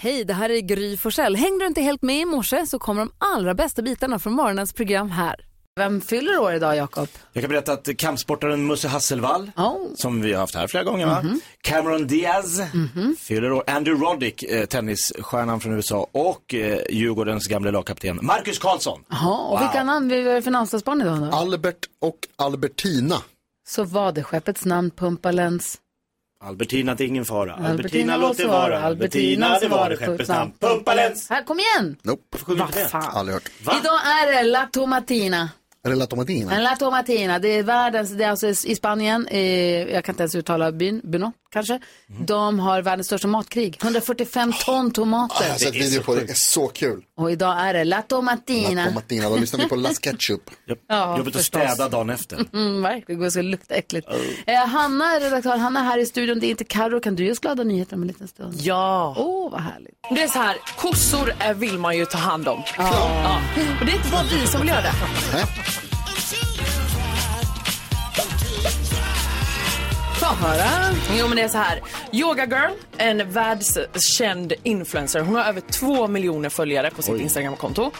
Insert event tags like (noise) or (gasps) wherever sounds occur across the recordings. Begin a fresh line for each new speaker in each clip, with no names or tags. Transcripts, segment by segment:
Hej, det här är Gry Forssell. Hängde du inte helt med i morse så kommer de allra bästa bitarna från morgonens program här. Vem fyller år idag, Jakob?
Jag kan berätta att kampsportaren Musse Hasselvall, som vi har haft här flera gånger, va? Cameron Diaz,
Mhm.
fyller år. Andrew Roddick, eh, tennisstjärnan från USA och eh, Djurgårdens gamle lagkapten Marcus Karlsson.
Ja, och vilka namn vi är för namnsdagsbarn idag då?
Albert och Albertina.
Så var det skeppets namn, Pumpalens.
Albertina, det är ingen fara. Albertina,
må
låt det vara. Albertina, det var det. Skeppets namn. Pumpalens!
Här, kom igen!
Nope.
Vad fan.
Aldrig hört.
Idag är det La Tomatina.
Är det La Tomatina?
En La Tomatina, det är världens, det är alltså i Spanien, eh, jag kan inte ens uttala byn, Buno kanske.
Mm.
De har världens största matkrig, 145 ton
Ah, Jag
tomater.
har sett
Det är
video
så
på det,
sjukt.
det är så kul.
Och idag är det La
La
Tomatina.
Tomatina, då lyssnar vi på
(laughs)
Las Ketchup.
Ja,
Jobbigt att
förstås.
städa dagen efter.
(laughs) Mm, verkligen, det ska lukta äckligt. Eh, Hanna, redaktör Hanna här i studion, det är inte Karo. kan du ge oss glada nyheter om en liten stund?
Ja.
Åh, vad härligt.
Det är så här, kossor är vill man ju ta hand om. Ja. Och det är inte bara vi som vill göra det.
Få höra.
Jo men det är så här, Yoga Girl, en världskänd influencer. Hon har över två miljoner följare på sitt Instagramkonto.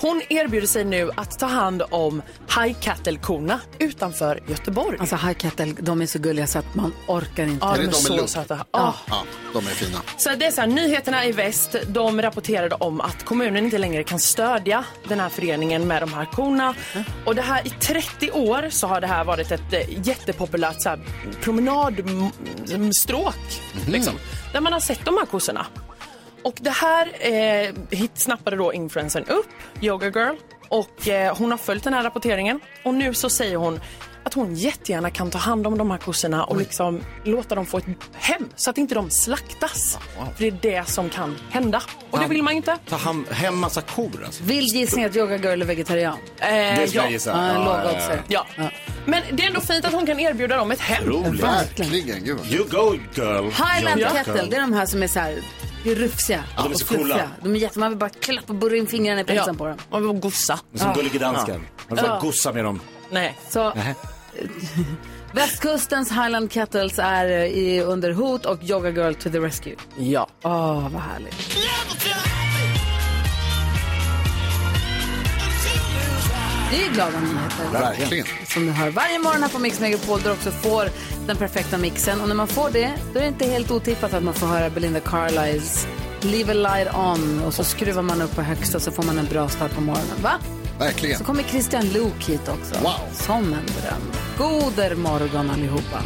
Hon erbjuder sig nu att ta hand om High Cattle-korna utanför Göteborg.
Alltså, High Kettle, de är så gulliga så att man orkar inte.
Ja,
Är det
de är
de med
så
lupp?
söta. Ja.
Ja, de är fina.
Så det är så här, nyheterna i väst, de rapporterade om att kommunen inte längre kan stödja den här föreningen med de här korna. Och det här i 30 år så har det här varit ett eh, jättepopulärt så här, promenadstråk. Liksom, där man har sett de här kossorna. Och det här eh, hit snappade då influensen upp, Yoga Girl. Och eh, hon har följt den här rapporteringen. Och nu så säger hon att hon jättegärna kan ta hand om de här kossorna och liksom låta dem få ett hem så att inte de slaktas. För det är det som kan hända. Och det vill man ju inte.
Ta ham- hem massa kor alltså.
Vill gissning att yoga girl är vegetarian?
Det
Eh,
ska jag gissa.
Ja, en
Ja,
låg
ja,
oddsare.
ja. Men det är ändå fint att hon kan erbjuda dem ett
ja.
hem.
Roligt.
Verkligen, gud.
You go girl.
Highland
Yoga
Kettle,
girl.
det är de här som är så här, det är rufsiga
Ja, de är
och
så coola.
fluffiga. De är jätte, man vill bara klappa och burra in fingrarna i
Ja.
pälsen på dem.
Man vill gossa.
Som Gullige Dansken. Man får gossa med dem.
Nej.
Så västkustens Highland Kettles är eh, i, under hot och Yoga Girl to the rescue.
Ja.
Åh, vad härligt. Det är glada nyheter.
Verkligen.
Som du hör varje morgon här på Mix Megapol där du också får den perfekta mixen. Och när man får det, då är det inte helt otippat att man får höra Belinda Carlisle's Leave a light on och så skruvar man upp på högsta så får man en bra start på morgonen. Va?
Verkligen.
Så kommer Christian Luuk hit också.
Wow.
Som en dröm. Goder morgon allihopa.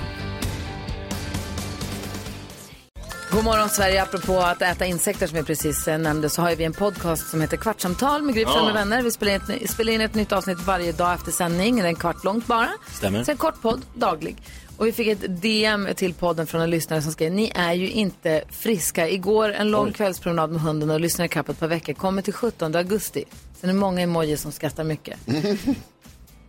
God morgon Sverige, apropå att äta insekter som vi precis eh, nämnde så har ju vi en podcast som heter Kvartsamtal med Gry Forssell med vänner. Vi spelar in, ett, ny- spelar in ett nytt avsnitt varje dag efter sändning, en kvart långt bara.
Stämmer.
Sen kort podd, daglig. Och vi fick ett DM till podden från en lyssnare som skrev, ni är ju inte friska. Igår en lång kvällspromenad med hunden och lyssnade ikapp ett par veckor, kommer till 17 augusti. Sen är det många emojis som skrattar mycket.
händer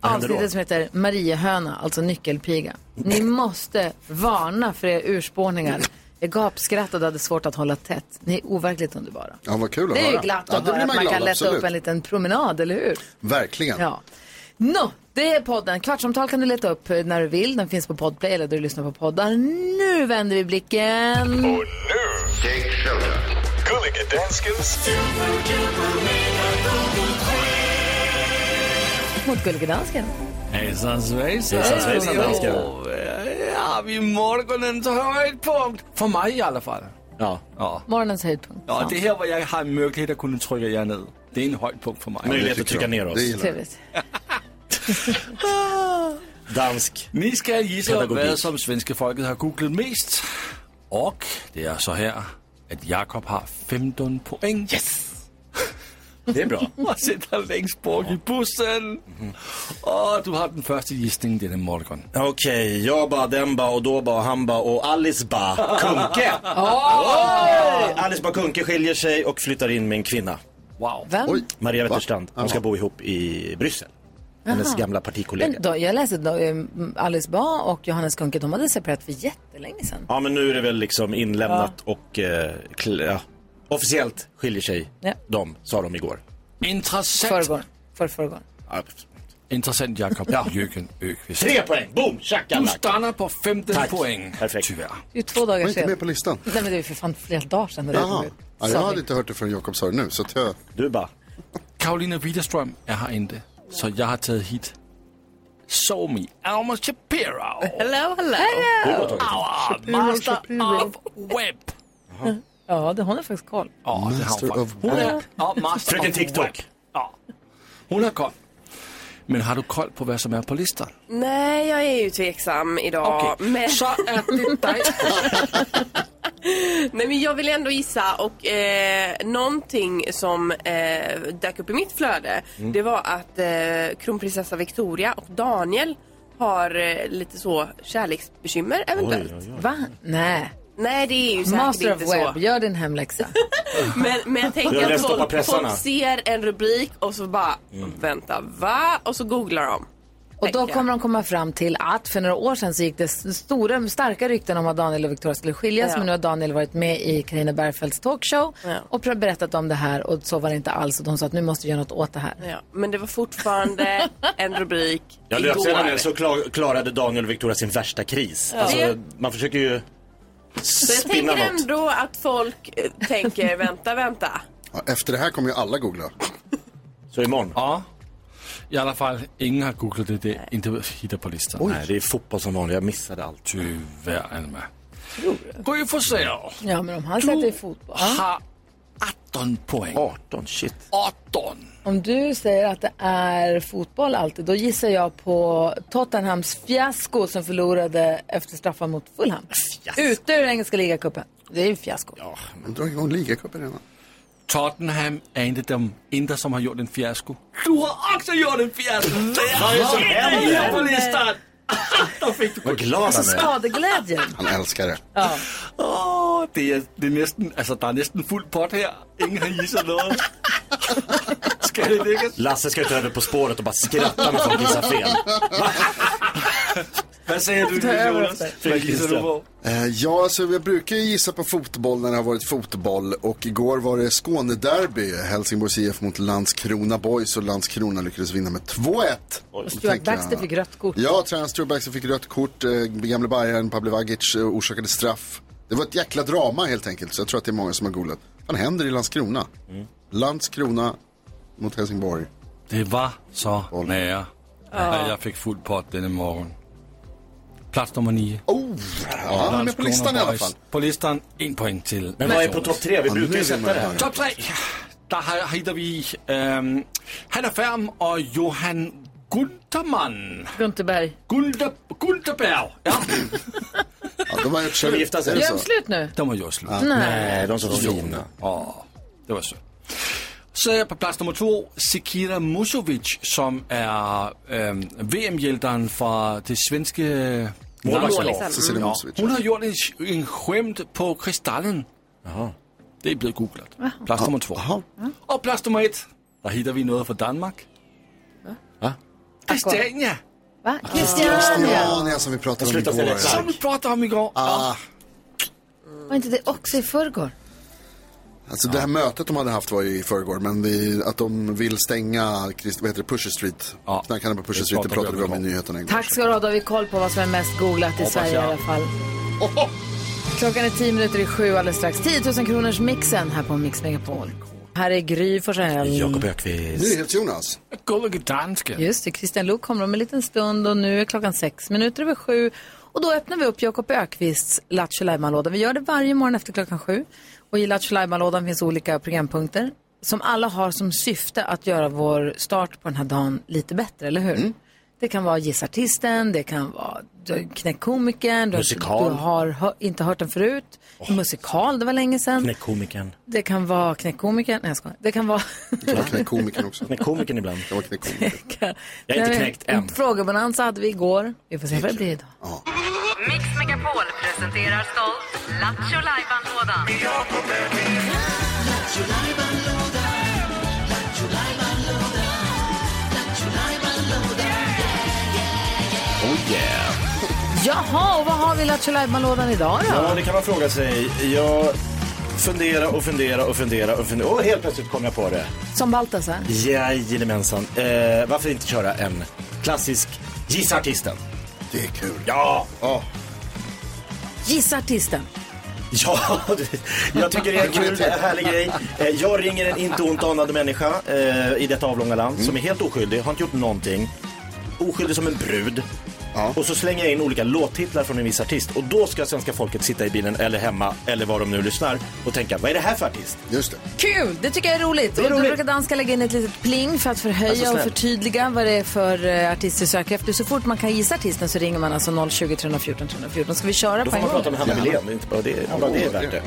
då?
Avsnittet som heter Mariehöna, alltså nyckelpiga. Ni måste varna för era urspårningar. Jag gapskrattade och hade svårt att hålla tätt. Ni är overkligt underbara.
Ja, vad kul att
Det är ju
höra.
glatt att
ja, det
höra
blir
att man
glad,
kan lätta
absolut.
upp en liten promenad, eller hur?
Verkligen.
Ja. Nå, det är podden. Kvartsamtal kan du leta upp eh, när du vill. Den finns på Podplay eller där du lyssnar på poddar. Nu vänder vi blicken.
Och nu, Jake Showtime. Gulliga Danskens
Mot Gullige Dansken.
Hejsan svejsan.
Hejsan svejsan, danskar.
Och, eh, Ja, vi morgonens höjdpunkt. För mig i alla fall.
Ja.
Ja.
Morgonens höjdpunkt.
ja, det här var jag har en möjlighet att kunna trycka er ner. Det är en höjdpunkt för mig.
Möjlighet att trycka ner
Det
oss.
gillar jag.
Trevligt.
Dansk.
Ni ska gissa
Pedagogik.
vad som svenska folket har googlat mest. Och det är så här att Jakob har 15 poäng. Yes!
Det är
(laughs)
bra.
Och sitter längst bak i bussen. Och du har den första gissningen denna morgon.
Okej, jag ba, den ba och då ba, han ba och Alice ba, Kunke. Oj! Alice ba Kunke skiljer sig och flyttar in med en kvinna.
Wow.
Vem?
Oj.
Maria
Va?
Wetterstrand. Hon ska bo ihop i Bryssel. Hennes gamla partikollega.
Men då, jag läste då, eh, Alice Ba och Johannes Kuhnke, de hade separerat för jättelänge sedan.
Ja, men nu är det väl liksom inlämnat och eh, kl- ja. officiellt skiljer sig
Ja.
de, sa de igår.
Intressant.
Förrgår. För förrgår.
Ja.
Intressant Jakob. Ja. Jürgen Öqvist.
Tre poäng, boom,
Du
shakalak.
stannar på 15 poäng,
Perfekt.
tyvärr.
Det är ju två dagar
Var inte
sen.
med på listan.
Nej men det är ju för fan flera dagar sedan det där
Jaha.
kom ut.
Ja, jag hade inte hört det från Jakob Sören nu, så att jag...
Du bara.
Karolina Widerström er her ikke, så jeg har taget hit. Show me, Alma Shapiro,
Hello, hello. hello.
our master of web.
Ja, det, hon är faktiskt koll.
Åh, det har
Master
hun
of
faktisk. Hun er og master
Frøken
of
TikTok.
web. Ja. Hun har kold. Men har du koll på, hvad som er på listerne?
Nej, jag är ju tveksam idag.
Okay.
Men,
Så er det dig.
(laughs) nej, men jag vill ändå gissa och eh, någonting som eh, dök upp i mitt flöde det var att eh, kronprinsessa Victoria och Daniel har eh, lite så kärleksbekymmer eventuellt.
Va? Nej.
Nej, det är ju säkert
Master of
inte
Web,
så.
gör din hemläxa.
Men, men jag
Du har
tänker att
läst upp av
folk,
pressarna.
folk ser en rubrik och så bara, vänta, va? Och så googlar de.
Och då
Tänker jag.
kommer de komma fram till att för några år sedan så gick det stora, starka rykten om att Daniel och Victoria skulle skiljas.
Ja.
Men nu har Daniel varit med i Carina Bergfeldts talkshow
Ja.
och pr- berättat om det här och så var det inte alls. Och de sa att nu måste vi göra något åt det här.
Ja, men det var fortfarande en rubrik
Ja, löpsedeln är så klar, klarade Daniel och Victoria sin värsta kris. Alltså,
Det-
man försöker ju
Så jag
spinna
tänker
något.
ändå att folk eh, tänker vänta, vänta.
Ja, efter det här kommer ju alla googla.
Så imorgon.
Og i alla fall, ingen har googlet det, det er ikke hitter på listerne.
Nej, det är fotboll som vanligt. Jag missade allt.
Tyvärr, Alma. Gry Forsell
Ja, men om han sätter i fotboll.
har 18 poäng.
18, shit.
18!
Om du säger att det är fotboll alltid, då gissar jag på Tottenhams fiasko som förlorade efter straffar mot Fulham. Ute ur engelska ligacupen. Det är ju fiasko.
De drar igång ligacupen redan.
Tottenham är inte de enda som har gjort en fiasko. Du har också gjort (laughs) en fiasko! Vad är det som händer? på listan! Då fick du
Vad glad
Alltså,
han är.
Skadeglädjen.
Han älskar det.
Åh, det är, det är nästan, alltså det är nästan full pott här. Ingen har
(laughs)
gissat något. Ska det läggas?
Lasse ska ju ta över På spåret och bara skratta när folk gissar fel.
Vad säger du Jonas? Vad gissar du på?
Eh, ja, alltså jag brukar ju gissa på fotboll när det har varit fotboll. Och igår var det Skånederby. Helsingborgs IF mot Landskrona Boys och Landskrona lyckades vinna med 2-1.
Och
Då
Stuart
tänker jag-
Baxter fick rött kort.
Ja, tränaren Stuart Baxter fick rött kort. Eh, gamle Bayern, Pavle Vagic eh, orsakade straff. Det var ett jäkla drama helt enkelt. Så jag tror att det är många som har googlat. Vad händer i Landskrona?
Mm.
Landskrona mot Helsingborg.
Det var så nära att jag fick full pott denna morgon. Plats nummer nio.
Oh, ja, han är med på listan i alla fall.
På listan, en poäng till.
Men vad är på topp tre? Vi
Ja,
brukar
nu
ju
är
sätta
man
det här.
här.
Top 3. Der har- hitter vi øhm, Hanna Færm og Johan Guntermann.
Gunther Berg.
Gunter, Gunterberg. Ja,
Ja, de har gjort
vi gifta sig?
Är det
Gör
så?
de slut nu?
der må jeg også slutte.
Nej, de som fina.
Åh, det var sødt. Så er på plads nummer to, Sikira Musovic, som ehm, er øhm, VM-hjælteren fra det svenske...
Målvaktsland.
landshold.
Cecilia Mosevic.
Hun har gjort en, en skämt på kristallen. Det er blevet googlet. Plads nummer to.
Jaha.
Og plads nummer et, der hitter vi noget fra Danmark.
Hvad?
Christiania.
Va? Christiania.
Dania som vi pratade om
slutar
igår.
ställa ett
Som vi pratade om igår.
Ah,
Var inte det också i förrgår?
alltså det här mötet de hade haft var ju i förrgår, men vi, att de vill stänga Christ, vad heter det, Pusher Street.
Ja.
Knarkarna på Pusher
Det
Street, det
pratade
pratade
vi
vi
om
om i nyheterna igår.
Tack ska du ha, då har vi koll på vad som är mest googlat i Sverige i
jag.
alla fall. Klockan är tio minuter i sju alldeles strax. 10 000 kronors mixen här på Mix Megapol. Här är Gry Forssell.
Jakob Ökvist.
Nyhets-Jonas.
Gullige dansken.
Just det, Kristian Luuk kommer om en liten stund och nu är klockan sex minuter över sju. Och då öppnar vi upp Jakob Ökvists Lattjo Lajban-låda. Vi gör det varje morgon efter klockan sju. Och i Lattjo Lajban-lådan finns olika programpunkter som alla har som syfte att göra vår start på den här dagen lite bättre, eller hur? Det kan vara Gissa artisten, det kan vara du- Knäck komikern, du,
Musikal.
du har hö- inte hört den förut. Musikal, det var länge sedan.
Knäck komikern.
Det kan vara Knäck komikern, nej jag skojar. Det kan vara... (laughs)
Det var knäckkomikern också.
Knäck komikern ibland.
Det var knäckkomikern.
vecka.
Jag är inte
Nej,
knäckt
en
än.
Frågebonanza hade vi igår. Vi får se vad det blir idag.
Mix Megapol presenterar stolt Lattjo Lajban-lådan.
Oh yeah.
Jaha, och vad har vi i Lattjo Lajban-lådan idag då?
Ja, det kan man fråga sig. Jag funderar och funderar och funderar och funderar. Och helt plötsligt kom jag på det.
Som Baltasar.
Jajamensan. Eh, varför inte köra en klassisk Gissa artisten?
Det är kul.
Ja!
Gissa artisten.
(laughs) Ja, jag tycker det är en kul, härlig grej. Eh, Jag ringer en inte ont anad människa eh, i detta avlånga land
Mm.
som är helt oskyldig, har inte gjort någonting. Oskyldig som en brud. Och så slänger jag in olika låttitlar från en viss artist och då ska svenska folket sitta i bilen eller hemma eller var de nu lyssnar och tänka, vad är det här för artist?
Just det.
Kul! Det tycker jag är roligt.
är
Och då
roligt.
brukar danska lägga in ett litet pling för att
Alltså,
förhöja och
snäll.
förtydliga vad det är för eh, artist vi söker efter. Så fort man kan gissa artisten så ringer man alltså 020 314 314. Ska vi köra
Då
på
får
en
man
gång?
prata med Hanna Billén, inte bara det, bara det är värt det.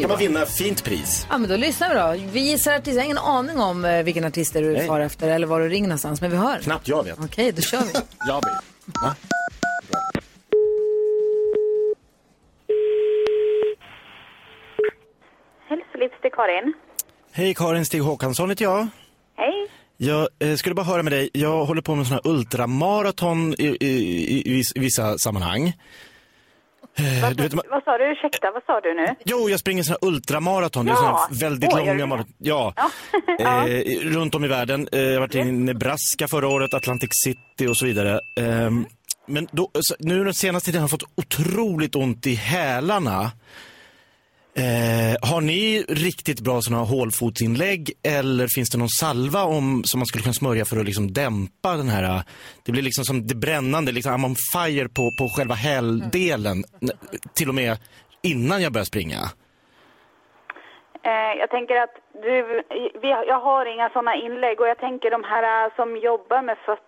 Kan man vinna ett fint pris?
Ja, men då lyssnar vi då. Vi gissar artist. Jag har ingen aning om eh, vilken artist det är du
Nej.
far efter eller var du ringer någonstans, men vi hör. Okej,
Knappt jag vet.
då kör vi.
Jag vet.
Hälsolips till Karin.
Hej Karin, Stig Håkansson heter jag.
Hej.
Jag eh, skulle bara höra med dig, jag håller på med sådana här ultramaraton i, i, i, i viss- vissa sammanhang. Eh, du vet, man,
Vad sa du? Ursäkta, vad sa du nu?
jo, jag springer sådana här ultramaraton, det är
Ja.
sådana här väldigt
Åh, gör
långa
du
maraton. Ja,
(laughs)
eh, i- runt om i världen. Eh, jag har varit i
Mm.
Nebraska förra året, Atlantic City och så vidare.
Mm.
Ehm, men då, så, nu den senaste tiden har jag fått otroligt ont i hälarna. Eh, har ni riktigt bra sådana här hålfotsinlägg eller finns det någon salva om, som man skulle kunna smörja för att liksom dämpa den här, eh, det blir liksom som det brännande, liksom I'm on fire på, på själva häldelen, n- till och med innan jag börjar springa.
Eh, jag tänker att du, vi, jag har inga sådana inlägg och jag tänker de här eh, som jobbar med fötter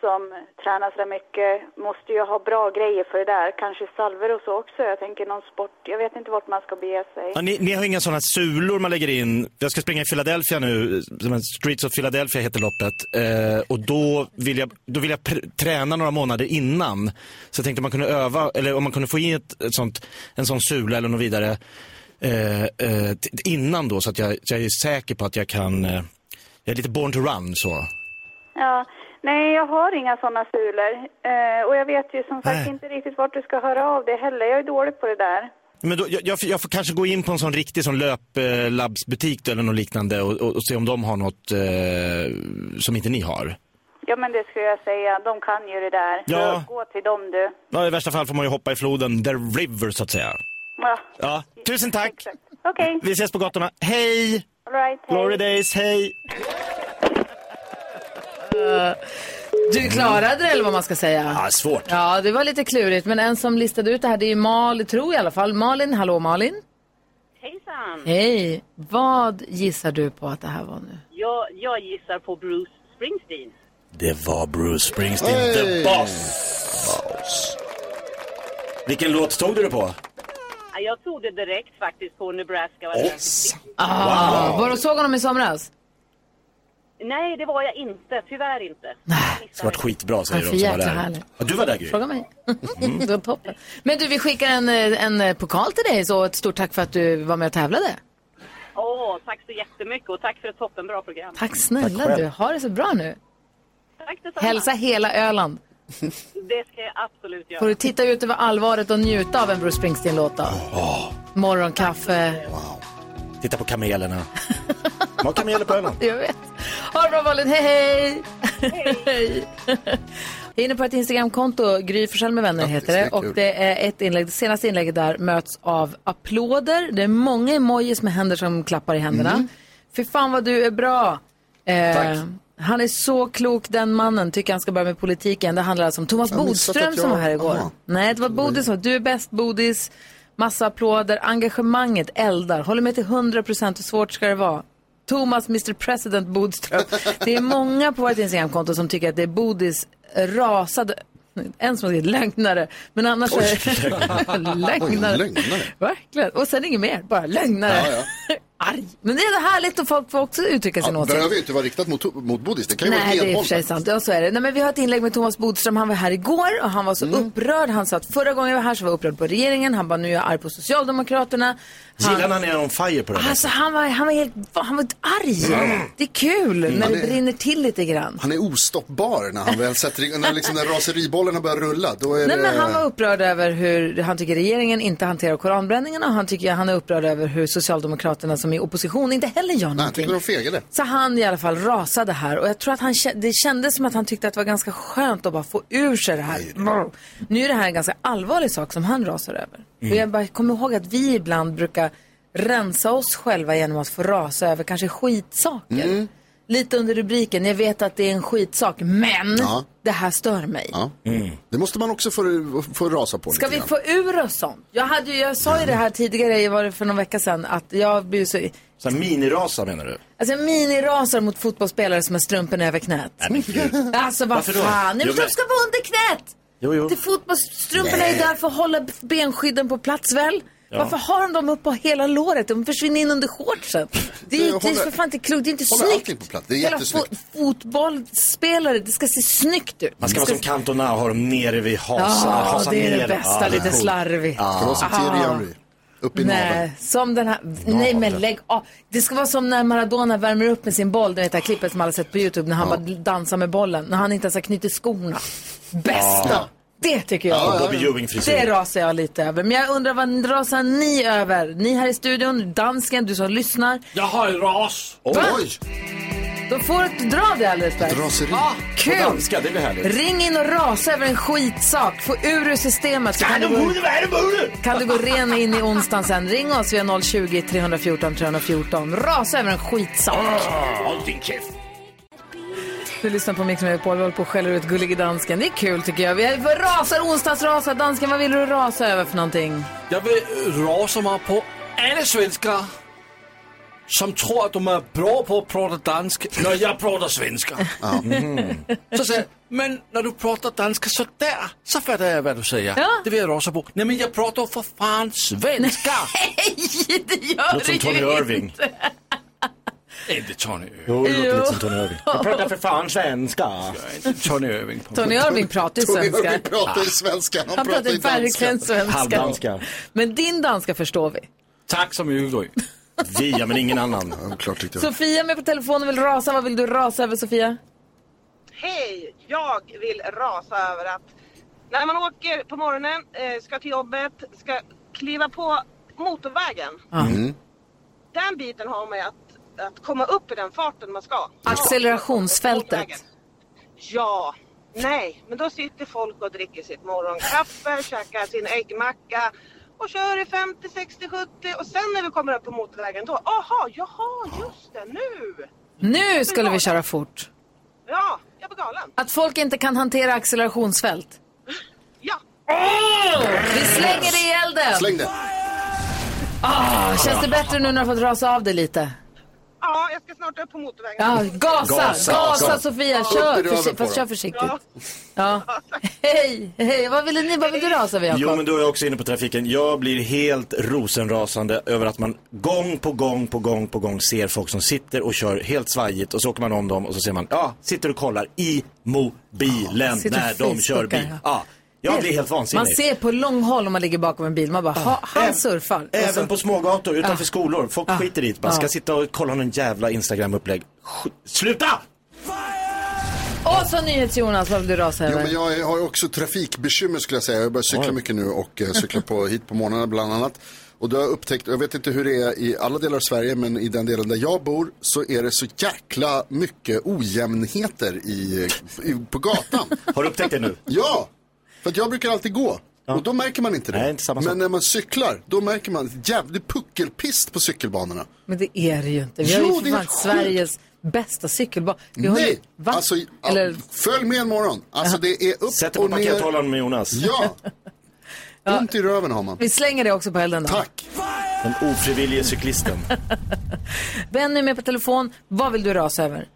som tränar så där mycket måste ju ha bra grejer för det där. Kanske salver och så också. Jag tänker någon sport. Jag vet inte vart man ska bege sig.
Ja, ni, ni har inga sådana sulor man lägger in. Jag ska springa i Philadelphia nu, som en Streets of Philadelphia heter loppet. Eh, och då vill jag, då vill jag pr- träna några månader innan. Så jag tänkte om man kunde öva, eller om man kunde få in ett, ett sånt, en sån sula eller något vidare eh, eh, t- innan då så att jag, så jag är säker på att jag kan, eh, jag är lite born to run så.
Ja. Nej, jag har inga sådana sulor. Eh, och jag vet ju som sagt
Nej.
inte riktigt vart du ska höra av dig heller. Jag är dålig på det där.
Men då, jag, jag, får- jag får kanske gå in på en sån riktig sån löplabbsbutik eller något liknande och, och, och se om de har något eh, som inte ni har.
Ja, men det skulle jag säga. De kan ju det där.
Ja.
Så Gå till dem du.
Ja, i värsta fall får man ju hoppa i floden, the river så att säga.
Ja.
Ja, tusen tack!
Exakt. Okej,
Vi ses på gatorna. Hej!
all right. hej.
Glory days, hej!
Du klarade det, eller vad man ska säga.
Ja, svårt.
Ja, det var lite klurigt, men en som listade ut det här, det är ju Malin, tror jag i alla fall. Malin, hallå Malin.
Hejsan!
Hej. Vad gissar du på att det här var nu?
Jag, jag gissar på Bruce Springsteen.
Det var Bruce Springsteen,
Hey!
the boss! Vilken låt stod du på?
Ja, Jag tog det direkt faktiskt på Nebraska.
Ah, Var du såg honom i somras?
Nej, det var jag inte. Tyvärr inte.
Det har varit skitbra säger de
Ja, för
som var
jäkla
där.
härligt.
Ja, du var där Gry.
Fråga mig.
Mhm.
(laughs) det var toppen. Men du, vi skickar en, eh, en eh, pokal till dig, så ett stort tack för att du var med och tävlade.
Åh, tack så jättemycket och tack för ett toppenbra program.
Tack snälla
själv.
du. Ha det så bra nu.
Tack detsamma.
Hälsa hela (laughs) Öland.
Det ska jag absolut göra.
Får du titta ut över allvaret och njuta av en Bruce Springsteen-låt då? Morgonkaffe.
Titta på
(laughs)
kamelerna. De har kameler på Öland.
Jag vet. Ha det bra Malin. Hej, hej! Hej! (laughs) Jag är inne på ett Instagramkonto, Gry Forssell med vänner heter
det är
det. Och
kul.
det är ett inlägg, det senaste inlägget där möts av applåder. Det är många emojis med händer som klappar i händerna.
Mm.
Fy fan vad du är bra! Eh, Han är så klok den mannen, tycker han ska börja med politiken. Det handlar alltså om Thomas
Jag har missat
Bodström
att
som
jag-
var här igår.
Aha.
Nej, det var Bodis som du är bäst Bodis. Massa applåder, engagemanget eldar. Håller med till 100 procent, hur svårt ska det vara? Thomas, Mr
(laughs)
President Bodström. Det är många på vårt Instagramkonto som tycker att det är Bodis rasade, en som har skrivit lögnare, men annars är (laughs) lögnare.
Oj, lögnare.
Verkligen. Och sen inget mer, bara lögnare.
Ja,
Arg. Men det är härligt att folk får också uttrycka sin
Ja, det
åsikt.
behöver ju inte vara riktat mot, mot Bodis. Det kan ju vara
Nej,
ett
det är i och
enhåll.
för sig sant. Ja, så är det. Nej, men vi har ett inlägg med Thomas Bodström. Han var här igår och han var så
Mm.
upprörd. Han sa att förra gången jag var här så var jag upprörd på regeringen. Han bara, nu är jag arg på Socialdemokraterna. Han,
Gillar när ni är on fire på det här?
alltså, han, var, han, var helt, han var arg. Det är kul när det
Mm. det är-
brinner till lite grann.
Han är ostoppbar när han väl sätter igång, när, liksom, när raseribollen har börjat rulla. Då är
Nej,
det...
men han var upprörd över hur han tycker regeringen inte hanterar koranbränningarna och han, tycker, han är upprörd över hur Socialdemokraterna som är i opposition diskussion, inte heller gör
Nej, jag tyckte de fegade.
Så han i alla fall rasade här och jag tror att han, kä- det kändes som att han tyckte att det var ganska skönt att bara få ur sig det här. Brr. Nu är det här en ganska allvarlig sak som han rasar över.
Mm.
Och jag bara kommer ihåg att vi ibland brukar rensa oss själva genom att få rasa över kanske skitsaker.
Mm.
Lite under rubriken, jag vet att det är en skitsak, men
Ja.
det här stör mig.
Ja. Det måste man också få, få rasa på
Ska
lite grann.
vi få ur oss sånt? Jag, hade ju, jag sa ju det här tidigare, var det för någon vecka sedan, att jag blir så...
Så här minirasa menar du?
Alltså minirasar mot fotbollsspelare som har strumporna över knät. alltså vad
Varför då?
fan, Nej,
Jo,
men de
men-
ska vara under knät!
Jo, jo.
Det är fotbollsstrumporna är ju
Nej.
där för att hålla benskydden på plats väl?
Ja.
Varför har de dem upp på hela låret? De försvinner in under shortsen. Det är,
Det
ju- det är
håller-
för fan inte klokt, det är inte
håller
snyggt.
allting på plats. Det är
Hela
jättesnyggt.
fo- fotbollsspelare, det ska se snyggt ut.
Man ska
Det
vara som Cantona och ha dem nere vid hasan.
Ja,
hasan
det är det
ner.
bästa, lite
coolt.
slarvigt.
Ja.
Ska vara som Thierry Ah. Henry.
Upp
Nej, som den här. Nej, men lägg av. Det ska vara som när Maradona värmer upp med sin boll. Det vet det här klippet som alla sett på YouTube när han bara dansar med bollen. När han inte ens har knutit skorna. Bästa!
Ja.
Det tycker jag.
Ja, Bobby Ewing-frisyr.
det rasar jag lite över. Men jag undrar vad rasar ni över? Ni här i studion, dansken, du som lyssnar.
Jag har en ras.
Va? Då får du inte dra det alldeles strax.
Raseri.
Ja,
På
kul!
danska, det blir härligt.
Ring in och rasa över en skitsak. Få ur ur systemet. Så kan, du gå, kan du gå ren in i onsdagen sen. Ring oss via 020-314 314. Rasa över en skitsak.
Håll din käft.
Du lyssnar på Mix Megapol. Vi håller på och skäller ut Gullige Dansken. Det är kul tycker jag. Vi är- vi rasar onsdagsrasar. Dansken, vad vill du rasa över för någonting? (laughs)
Jag vill rasa mig på alla svenskar som tror att de är bra på att prata dansk när jag pratar svenska.
Ja. Mhm.
Så säger jag, men när du pratar danska så där så fattar jag vad du säger.
Ja.
Det vill jag rasa på. Nej men jag pratar för fan svenska!
Nej, det
gör
Låter som
du
Tony
ju
Irving.
inte.
Inte Tony Irving.
Jo, det låter
Jo.
lite som Tony Irving. Jag pratar för fan svenska.
Tony Irving. på- Ah.
Tony Irving pratar ju
Tony
svenska.
Irving pratar ju svenska. Han
Han pratar
pratar
ju
ju danska.
verkligen svenska.
Halvdanska.
Men din danska förstår vi.
Tack så mycket. Roy.
Vi, ja, men ingen annan. Ja,
klart tyckte
Sofia är med på telefonen och vill rasa. Vad vill du rasa över Sofia?
Hej! Jag vill rasa över att när man åker på morgonen, eh, ska till jobbet, ska kliva på motorvägen.
Mm.
Den biten har man ju att, att komma upp i den farten man ska.
Accelerationsfältet.
Ja, nej, men då sitter folk och dricker sitt morgonkaffe, käkar sin äggmacka och kör i 50, 60, 70 och sen när vi kommer upp på motorvägen då, aha, jaha, just det, nu!
Nu skulle vi köra fort.
Ja, jag var galen.
Att folk inte kan hantera accelerationsfält.
Ja.
Vi slänger det i elden.
Släng det.
Ah, känns det bättre nu när du har fått rasa av dig lite?
Ja, jag ska snart upp på motorvägen.
Ja, gasa, gasa,
Gasa, gasa.
Sofia.
Ja,
Kör,
upp i röven
försi-
på
fast kör
dem.
försiktigt. Ja. Hej, hej. Vad ville ni? Vad vill du rasa över,
Jo,
Jakob?
men då är jag också inne på trafiken. Jag blir helt rosenrasande över att man gång på gång på gång på gång ser folk som sitter och kör helt svajigt och så åker man om dem och så ser man, ja, sitter och kollar i mobilen
Sitter och
när de kör
facebookar,
bil.
ja.
Ja, jag blir helt
Man
vansinnig.
ser på långhåll om man ligger bakom en bil. Man bara, ha, han surfar. Alltså. Och så-
Även på smågator utanför
Ja.
skolor. Folk
Ja.
skiter dit. Man
Ja.
ska sitta och kolla någon jävla Instagram-upplägg. Sk- Sluta!
Och så NyhetsJonas, vad vill du rasa
Jo,
över?
men jag har ju också trafikbekymmer skulle jag säga. Jag börjar cykla mycket nu och eh,
(laughs)
cyklar på, hit på morgnarna bland annat. Och då har jag upptäckt, jag vet inte hur det är i alla delar av Sverige, men i den delen där jag bor så är det så jäkla mycket ojämnheter i, i, på gatan.
(laughs) Har du upptäckt det nu?
Ja, för att jag brukar alltid gå. Och då märker man inte det. men när man cyklar, då märker man jävligt puckelpist på cykelbanorna.
Men det är det ju inte. Vi har
Jo, det
ju för
är
fan
helt sjukt.
Sveriges bästa cykelbana. Vi har ju...
Nej,
Va?
alltså, ja,
Eller-
följ med en morgon. Alltså det är upp
Sätt dig på
och ner.
pakethållaren med Jonas. (laughs)
Ja. Ont i röven har man.
Vi slänger det också på elden då.
Tack.
Den ofrivillige cyklisten.
Benny är med på telefon. Vad vill du rasa över?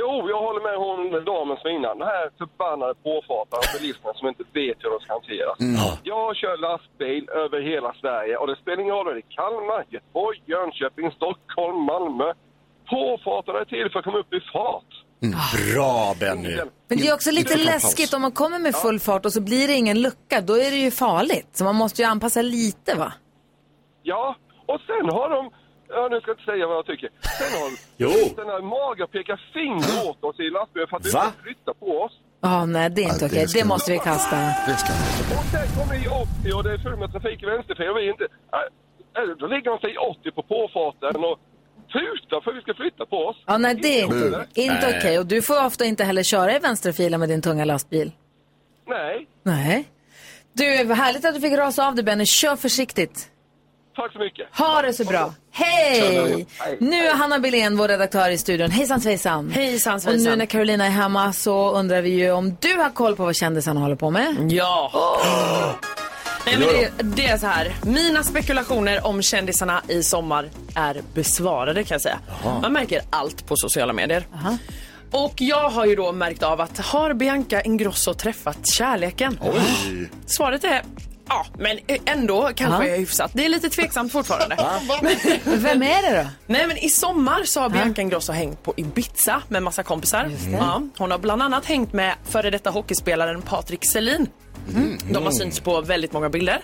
Jo, jag håller med hon damen som innan. Den här förbannade påfartaren och bilisterna som inte vet hur de ska hantera. Jag kör lastbil över hela Sverige och det spelar ingen roll om det är Kalmar, Göteborg, Jönköping, Stockholm, Malmö. Påfartarna är till för att komma upp i fart.
Mm.
Bra Benny.
Men det är också lite läskigt om man kommer med full fart och så blir det ingen lucka. Då är det ju farligt. Så man måste ju anpassa lite va?
Ja, och sen har de... Ja, nu ska jag inte säga vad jag tycker. Sen har
Jo.
den här magen och pekar finger åt oss i lastbilen för att vi
Va?
inte flyttar på oss.
Ja, nej det är inte okej. Det måste vi kasta.
Det ska
Och sen kommer vi i 80 och det är fullt med trafik i vänsterfil och vi är inte... Äh, äh, då ligger de sig i 80 på påfarten och tuta för vi ska flytta på oss.
Ja, nej, det är
Inte
inte,
okej.
inte okej. Och du får ofta inte heller köra i vänsterfilen med din tunga lastbil.
Nej,
Nej. Du, vad härligt att du fick rasa av dig, Benny. Kör försiktigt.
tack så mycket.
Ha det så bra. Hej! Nu är Hanna Billén, vår redaktör i studion. Hejsan svejsan.
Hejsan
Och
svejsan.
nu när Carolina är hemma så undrar vi ju om du har koll på vad kändisarna håller på med?
Ja. (gasps) Nej, men det, det är så här. Mina spekulationer om kändisarna i sommar är besvarade kan jag säga.
Jaha.
Man märker allt på sociala medier. Och jag har ju då märkt av att har Bianca Ingrosso träffat kärleken?
Oj.
Svaret är ja, men ändå kanske
Ja.
jag är hyfsat. Det är lite tveksamt fortfarande. (laughs)
Vem är det då?
Nej men i sommar så har Bianca Ingrosso hängt på Ibiza med massa kompisar.
det.
Ja, hon har bland annat hängt med före detta hockeyspelaren Patrik Selin.
Mm.
De har synts på väldigt många bilder.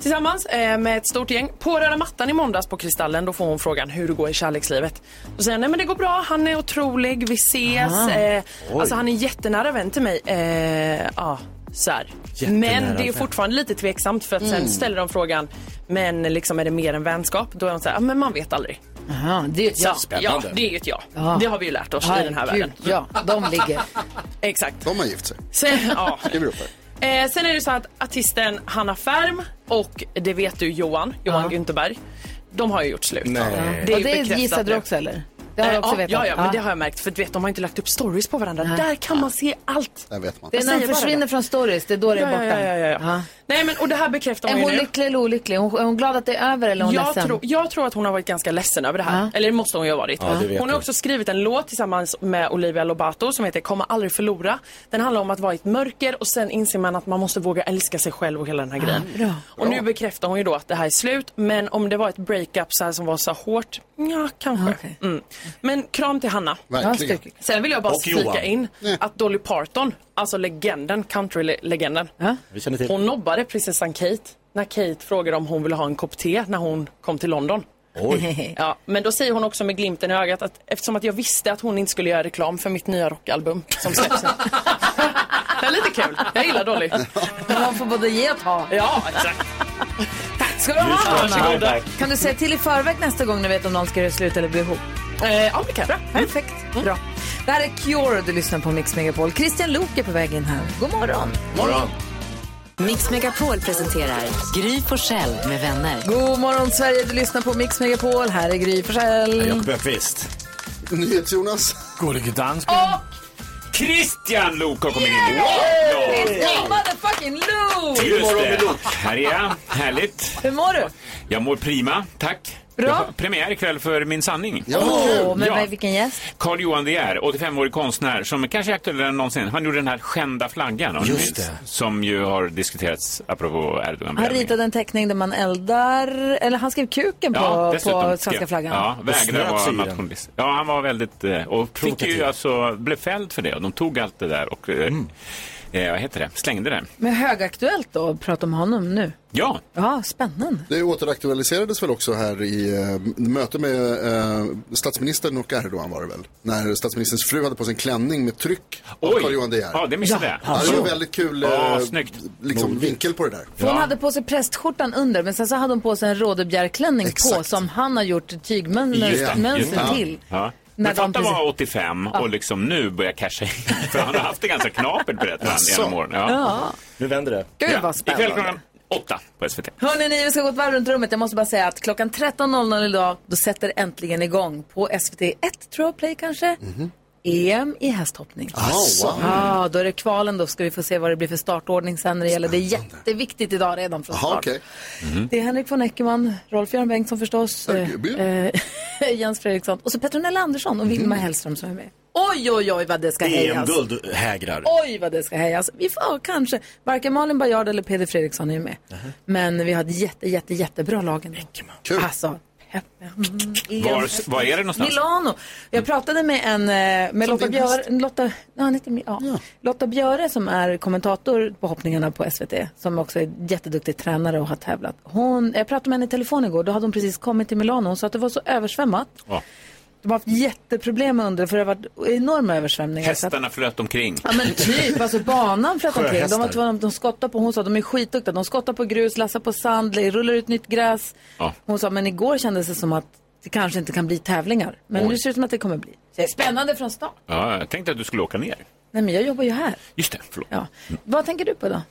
Tillsammans eh, med ett stort gäng. På röda mattan i måndags på Kristallen då får hon frågan hur det går i kärlekslivet. Då säger hon, nej men det går bra, han är otrolig, vi ses.
Ah.
Eh,
Oj.
alltså han är jättenära vän till mig. Eh, ja, så här.
Jättenära
Men det är
vän.
fortfarande lite tveksamt för att sen
Mm.
ställer de frågan, men liksom är det mer än vänskap? Då är hon så här, "Ja, men man vet aldrig.
Aha, det är ju ett
Ja,
ja.
ja, det är ju ett ja.
Ja.
Det har vi ju lärt oss i den här
Herregud,
världen.
Ja, de ligger.
Exakt.
De har gift sig.
Sen, ja.
Skriver upp här.
eh, sen är det så att artisten Hanna Färm och det vet du Johan, Johan Gunterberg, de har ju gjort slut.
Nej.
ju
Och det
bekräftat
gissade du
nu.
också eller? Det har du
Eh,
också
ja,
vetat?
Ja, ja, men
Ja.
det har jag märkt. För du vet, de har inte lagt upp stories på varandra. Där kan man se allt.
Där vet man.
Det är när de försvinner från stories, det är då det är
Ja, ja,
borta.
ja, ja, ja. Nej, men och det här bekräftar
Är
ju
hon
nu.
lycklig eller olycklig? Hon- Är hon glad att det är över eller är hon
jag,
ledsen?
tror, jag tror att hon har varit ganska ledsen över det här. Eller det måste hon ju ha varit.
Ja, det vet
hon har
jag.
också skrivit en låt tillsammans med Olivia Lobato som heter Kommer aldrig förlora. Den handlar om att vara i ett mörker och sen inser man att man måste våga älska sig själv och hela den här grejen.
bra.
Och nu bekräftar hon ju då att det här är slut. Men om det var ett breakup så här som var så hårt, ja kanske. Mm. Men kram till Hanna.
Verkligen. Ja,
Sen vill jag bara
Och Johan.
flika in att Dolly Parton, alltså legenden, countrylegenden.
Vi känner till.
Hon nobbade prinsessan Kate när Kate frågade om hon ville ha en kopp te när hon kom till London.
Oj.
(laughs) Ja, men då säger hon också med glimten i ögat att eftersom att jag visste att hon inte skulle göra reklam för mitt nya rockalbum
(laughs)
som släpps. det är lite kul. Jag gillar Dolly.
(laughs) Man får både ge och ta.
Ja, exakt.
(laughs) Tack ska du ha,
Just det, varsågoda.
Hanna. Kan du säga till i förväg nästa gång du vet om någon ska göra slut eller bli ihop?
Eh, Ja, det kan Mm.
Perfekt. Bra. Det här är Cure och du lyssnar på Mix Megapol. Christian Lok är på väg in här. God morgon.
Morgon.
Mix Megapol presenterar Gry på själv med vänner.
God morgon, Sverige. Du lyssnar på Mix Megapol. Här är Gry Forssell.
Jakob Öqvist.
NyhetsJonas.
Gullige dansk.
Christian Lok har kommit in.
It's me, motherfucking Luke!
Just det. Här är jag. Härligt.
Hur mår du?
Jag mår prima, tack.
Bra.
Jag har premiär ikväll för Min sanning.
Åh, men
Ja.
vad- vilken gäst.
Carl Johan De Geer, 85-årig konstnär som kanske är aktuellare än någonsin. Han gjorde den här skända flaggan, om ni
Just
minns, som ju har diskuterats apropå Erdogan.
Han ritade en teckning där man eldar, eller han skrev kuken på, på svenska flaggan.
Ja, vägrade
snöt
vara
sig i den.
nationalist. Ja, han var väldigt... eh, Och fick ju alltså, blev fälld för det och de tog allt det där och... eh, Eh, vad heter det? Slängde det.
Men högaktuellt då, att prata om honom nu.
Ja.
Ja, spännande.
Det återaktualiserades väl också här i eh, möte med eh, statsministern och Erdogan var det väl? När statsministerns fru hade på sig en klänning med tryck av
Oj.
Carl-Johan De Geer.
Ja, det missade jag.
Ja, det var en väldigt kul eh,
Ja, snyggt.
liksom, vinkel på det där.
För Hon hade på sig prästskjortan under, men sen så hade hon på sig en rådebjärklänning på som han har gjort
Just det, just det.
tygmönster till.
Ja.
När
Men
de
fatta
precis-
var 85
Ja.
och liksom nu börjar casha in. (laughs) För han har haft det ganska knapert berättar han genom åren.
Ja.
Nu vänder det.
Gud, vad spännande.
Ikväll klockan åtta på SVT.
Hörni, ni, vi ska gå ett varv runt rummet. Jag måste bara säga att klockan 13.00 idag, då sätter äntligen igång på SVT1, tror jag, Play kanske. EM i hästhoppning.
Asså.
Ja, då är det kvalen då. Ska vi få se vad det blir för startordning sen när det gäller. Det är jätteviktigt idag redan från start.
Jaha, okej.
Det är Henrik von Eckermann, Rolf-Göran Bengtsson förstås, eh, (laughs) eh, Jens Fredriksson och så Petronella Andersson och Vilma Hellström som är med. Oj, oj, oj vad det ska hejas.
EM-guld hägrar.
Oj, vad det ska hejas. Vi får kanske, varken Malin Bajard eller Peder Fredriksson är ju med. Men vi har ett jätte, jätte, jättebra lag ändå. Kul. Alltså,
Var, var är det någonstans?
Milano. Jag pratade med en, eh, med Lotta
Mm. din
Björe,
häst.
Lotta, ja, han heter, Mi- ja. Lotta Björe som är kommentator på hoppningarna på SVT, som också är jätteduktig tränare och har tävlat. Hon, jag pratade med henne i telefon igår, då hade hon precis kommit till Milano. Hon sa att det var så översvämmat.
Ja.
De har haft jätteproblem med under, för det har varit enorma översvämningar. Så att-
Hästarna flöt omkring.
Ja men typ, alltså banan flöt omkring. De,
Sjöhästar.
var tvungna- de skottar på, hon sa de är skitduktiga. De skottar på grus, lassar på sand, rullar ut nytt gräs.
Ja.
Hon sa men igår kändes det som att det kanske inte kan bli tävlingar. Men
Oj.
nu ser det ut som att det kommer bli. Så det är spännande från start.
Ja, jag tänkte att du skulle åka ner.
Nej, men jag jobbar ju här.
Just det, förlåt.
Vad tänker du på då?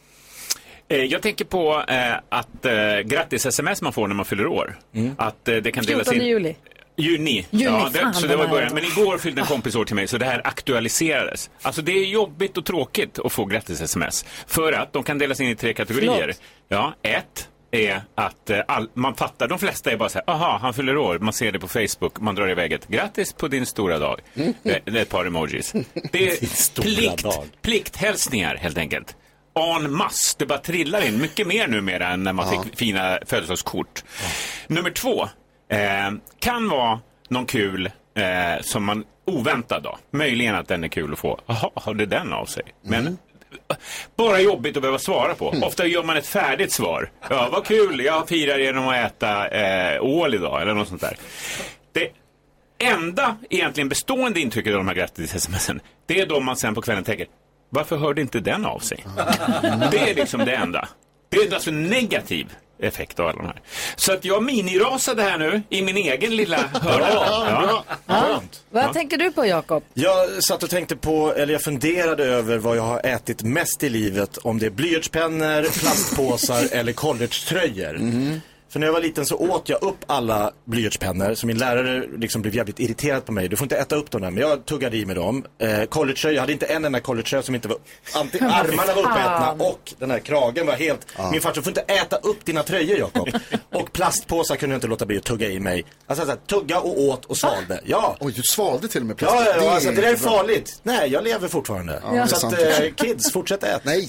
Eh, Jag tänker på eh, att eh, grattis-sms man får när man fyller år. Att eh, det kan delas
14
in...
Mm. juli.
Juni.
Juni,
ja,
fan,
det, så det var i
vad nära
början.
då.
Men igår fyllde en kompis år till mig så det här aktualiserades. Alltså det är jobbigt och tråkigt att få grattis-sms. För att de kan delas in i tre kategorier.
Förlåt.
Ja, ett är att eh, all, man fattar, de flesta är bara så här, aha, han fyller år, man ser det på Facebook, man drar iväg ett grattis på din stora dag. Eh, Det är ett par emojis. Det är plikt,
dag.
plikthälsningar helt enkelt. En masse, det bara trillar in mycket mer numera än när man
Ja.
fick fina födelsedagskort. Nummer två eh, kan vara någon kul eh, som man oväntad då. Möjligen att den är kul att få. Jaha, hörde den av sig? Men bara jobbigt att behöva svara på. Ofta gör man ett färdigt svar. Ja, vad kul, jag firar genom att äta eh, ål idag eller något sånt där. Det enda egentligen bestående intrycket av de här grattis-smsen, det är då man sen på kvällen tänker, varför hörde inte den av sig? Det är liksom det enda. Det är alltså en negativ effekt av alla de här. Så att jag minirasade här nu i min egen lilla hörna.
bra.
Vad tänker du på, Jakob?
Jag satt och tänkte på, eller jag funderade över vad jag har ätit mest i livet. Om det är blyertspennor, plastpåsar eller collegetröjor. För när jag var liten så åt jag upp alla blyertspennor, så min lärare liksom blev jävligt irriterad på mig. Du får inte äta upp dem där, men jag tuggade i mig dem. Eh, collegetröjor, jag hade inte en enda collegetröja som inte var, anti, armarna var
Fan.
uppätna och den här kragen var helt, min farsa, du får inte äta upp dina tröjor Jakob. och plastpåsar kunde jag inte låta bli att tugga i mig. Alltså, så här, tugga och åt och svalde. Ja.
Oj, du svalde till och med
Ja,
plast.
ja, ja, alltså,
är
det där är
bra.
farligt. Nej, jag lever fortfarande.
Ja, det är
så
sant.
att, eh, kids, fortsätt äta. (laughs)
Nej.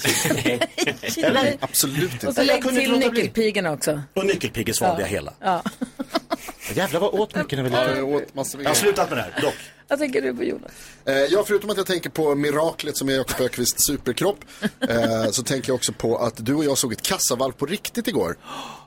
Eller? Absolut
Och så lägg till nyckelpigorna också.
Och nyckelpiggen svalde
Ja.
jag hela.
Ja.
Jävlar vad åt mycket när vi
Ja, jag åt massor med
Jag har slutat med det här, dock.
Vad tänker du på, Jonas?
Eh, ja, förutom att jag tänker på miraklet som är Jakob Ökvists
(laughs)
superkropp eh, så tänker jag också på att du och jag såg ett kassavalv på riktigt igår.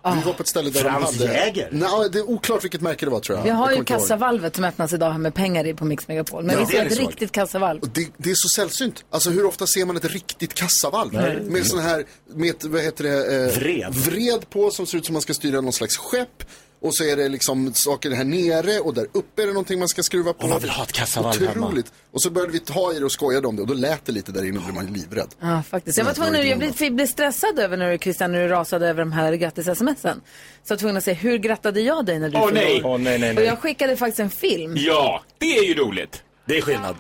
Ah.
Vi var på ett ställe där
Franz
de hade...
Jäger?
Nej, det är oklart vilket märke det var tror jag.
Vi har
Jag
ju
kommer inte ihåg.
kassavalvet som öppnas idag här med pengar i på Mix Megapol. Men
Ja,
vi
det
ser
är
ett
så.
riktigt kassavalv.
Och Det, det är så sällsynt. Alltså hur ofta ser man ett riktigt kassavalv?
Nej.
Med sån här, med ett, vad heter det? Eh,
Vred.
Vred på som ser ut som man ska styra någon slags skepp. Och så är det liksom saker här nere och där uppe är det någonting man ska skruva på.
Och man vill ha ett kassavalv hemma.
Otroligt. Och så började vi ta i det och skojade om det och då lät det lite där inne och blev man ju livrädd.
Ja, faktiskt. Jag var tvungen att, jag blev, blev stressad över när du, Christian, när du rasade över de här grattis-smsen. Så jag var tvungen att säga, hur grattade jag dig när du
Åh,
fyllde
nej.
år?
Åh, nej, nej,
Och
nej.
jag skickade faktiskt en film.
Ja, det är ju roligt.
Det är skillnad.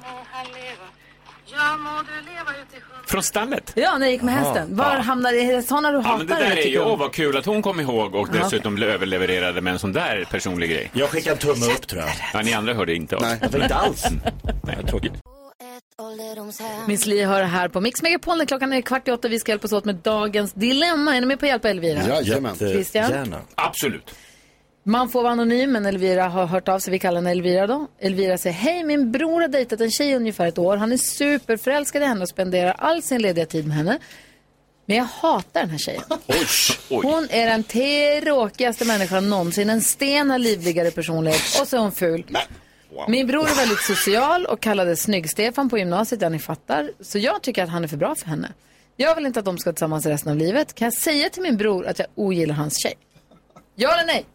Från stallet.
Ja, när jag gick med
Jaha.
hästen. Var
Ja.
hamnar det? Är det sådana du
Ja,
hatar?
men det där
eller
är ju,
tycker om?
åh vad kul att hon kom ihåg och
Ja.
dessutom överlevererade med en sån där personlig grej.
Jag skickar en tumme upp tror jag.
Ja, ni andra hörde inte oss.
Nej, inte alls.
Miss Li hör här på Mix Megapol när klockan är kvart i åtta. Vi ska hjälpas åt med dagens dilemma. Är ni med på att hjälpa Elvira? Christian?
Absolut.
Man får vara anonym, men Elvira har hört av sig. Vi kallar henne Elvira då. Elvira säger, hej, min bror har dejtat en tjej i ungefär ett år. Han är superförälskad i henne och spenderar all sin lediga tid med henne. Men jag hatar den här tjejen.
Oj, oj.
Hon är den tråkigaste människan någonsin. En sten har livligare personlighet och så är hon ful. Min bror är väldigt social och kallades Snygg-Stefan på gymnasiet, ja ni fattar. Så jag tycker att han är för bra för henne. Jag vill inte att de ska tillsammans resten av livet. Kan jag säga till min bror att jag ogillar hans tjej? Ja eller nej?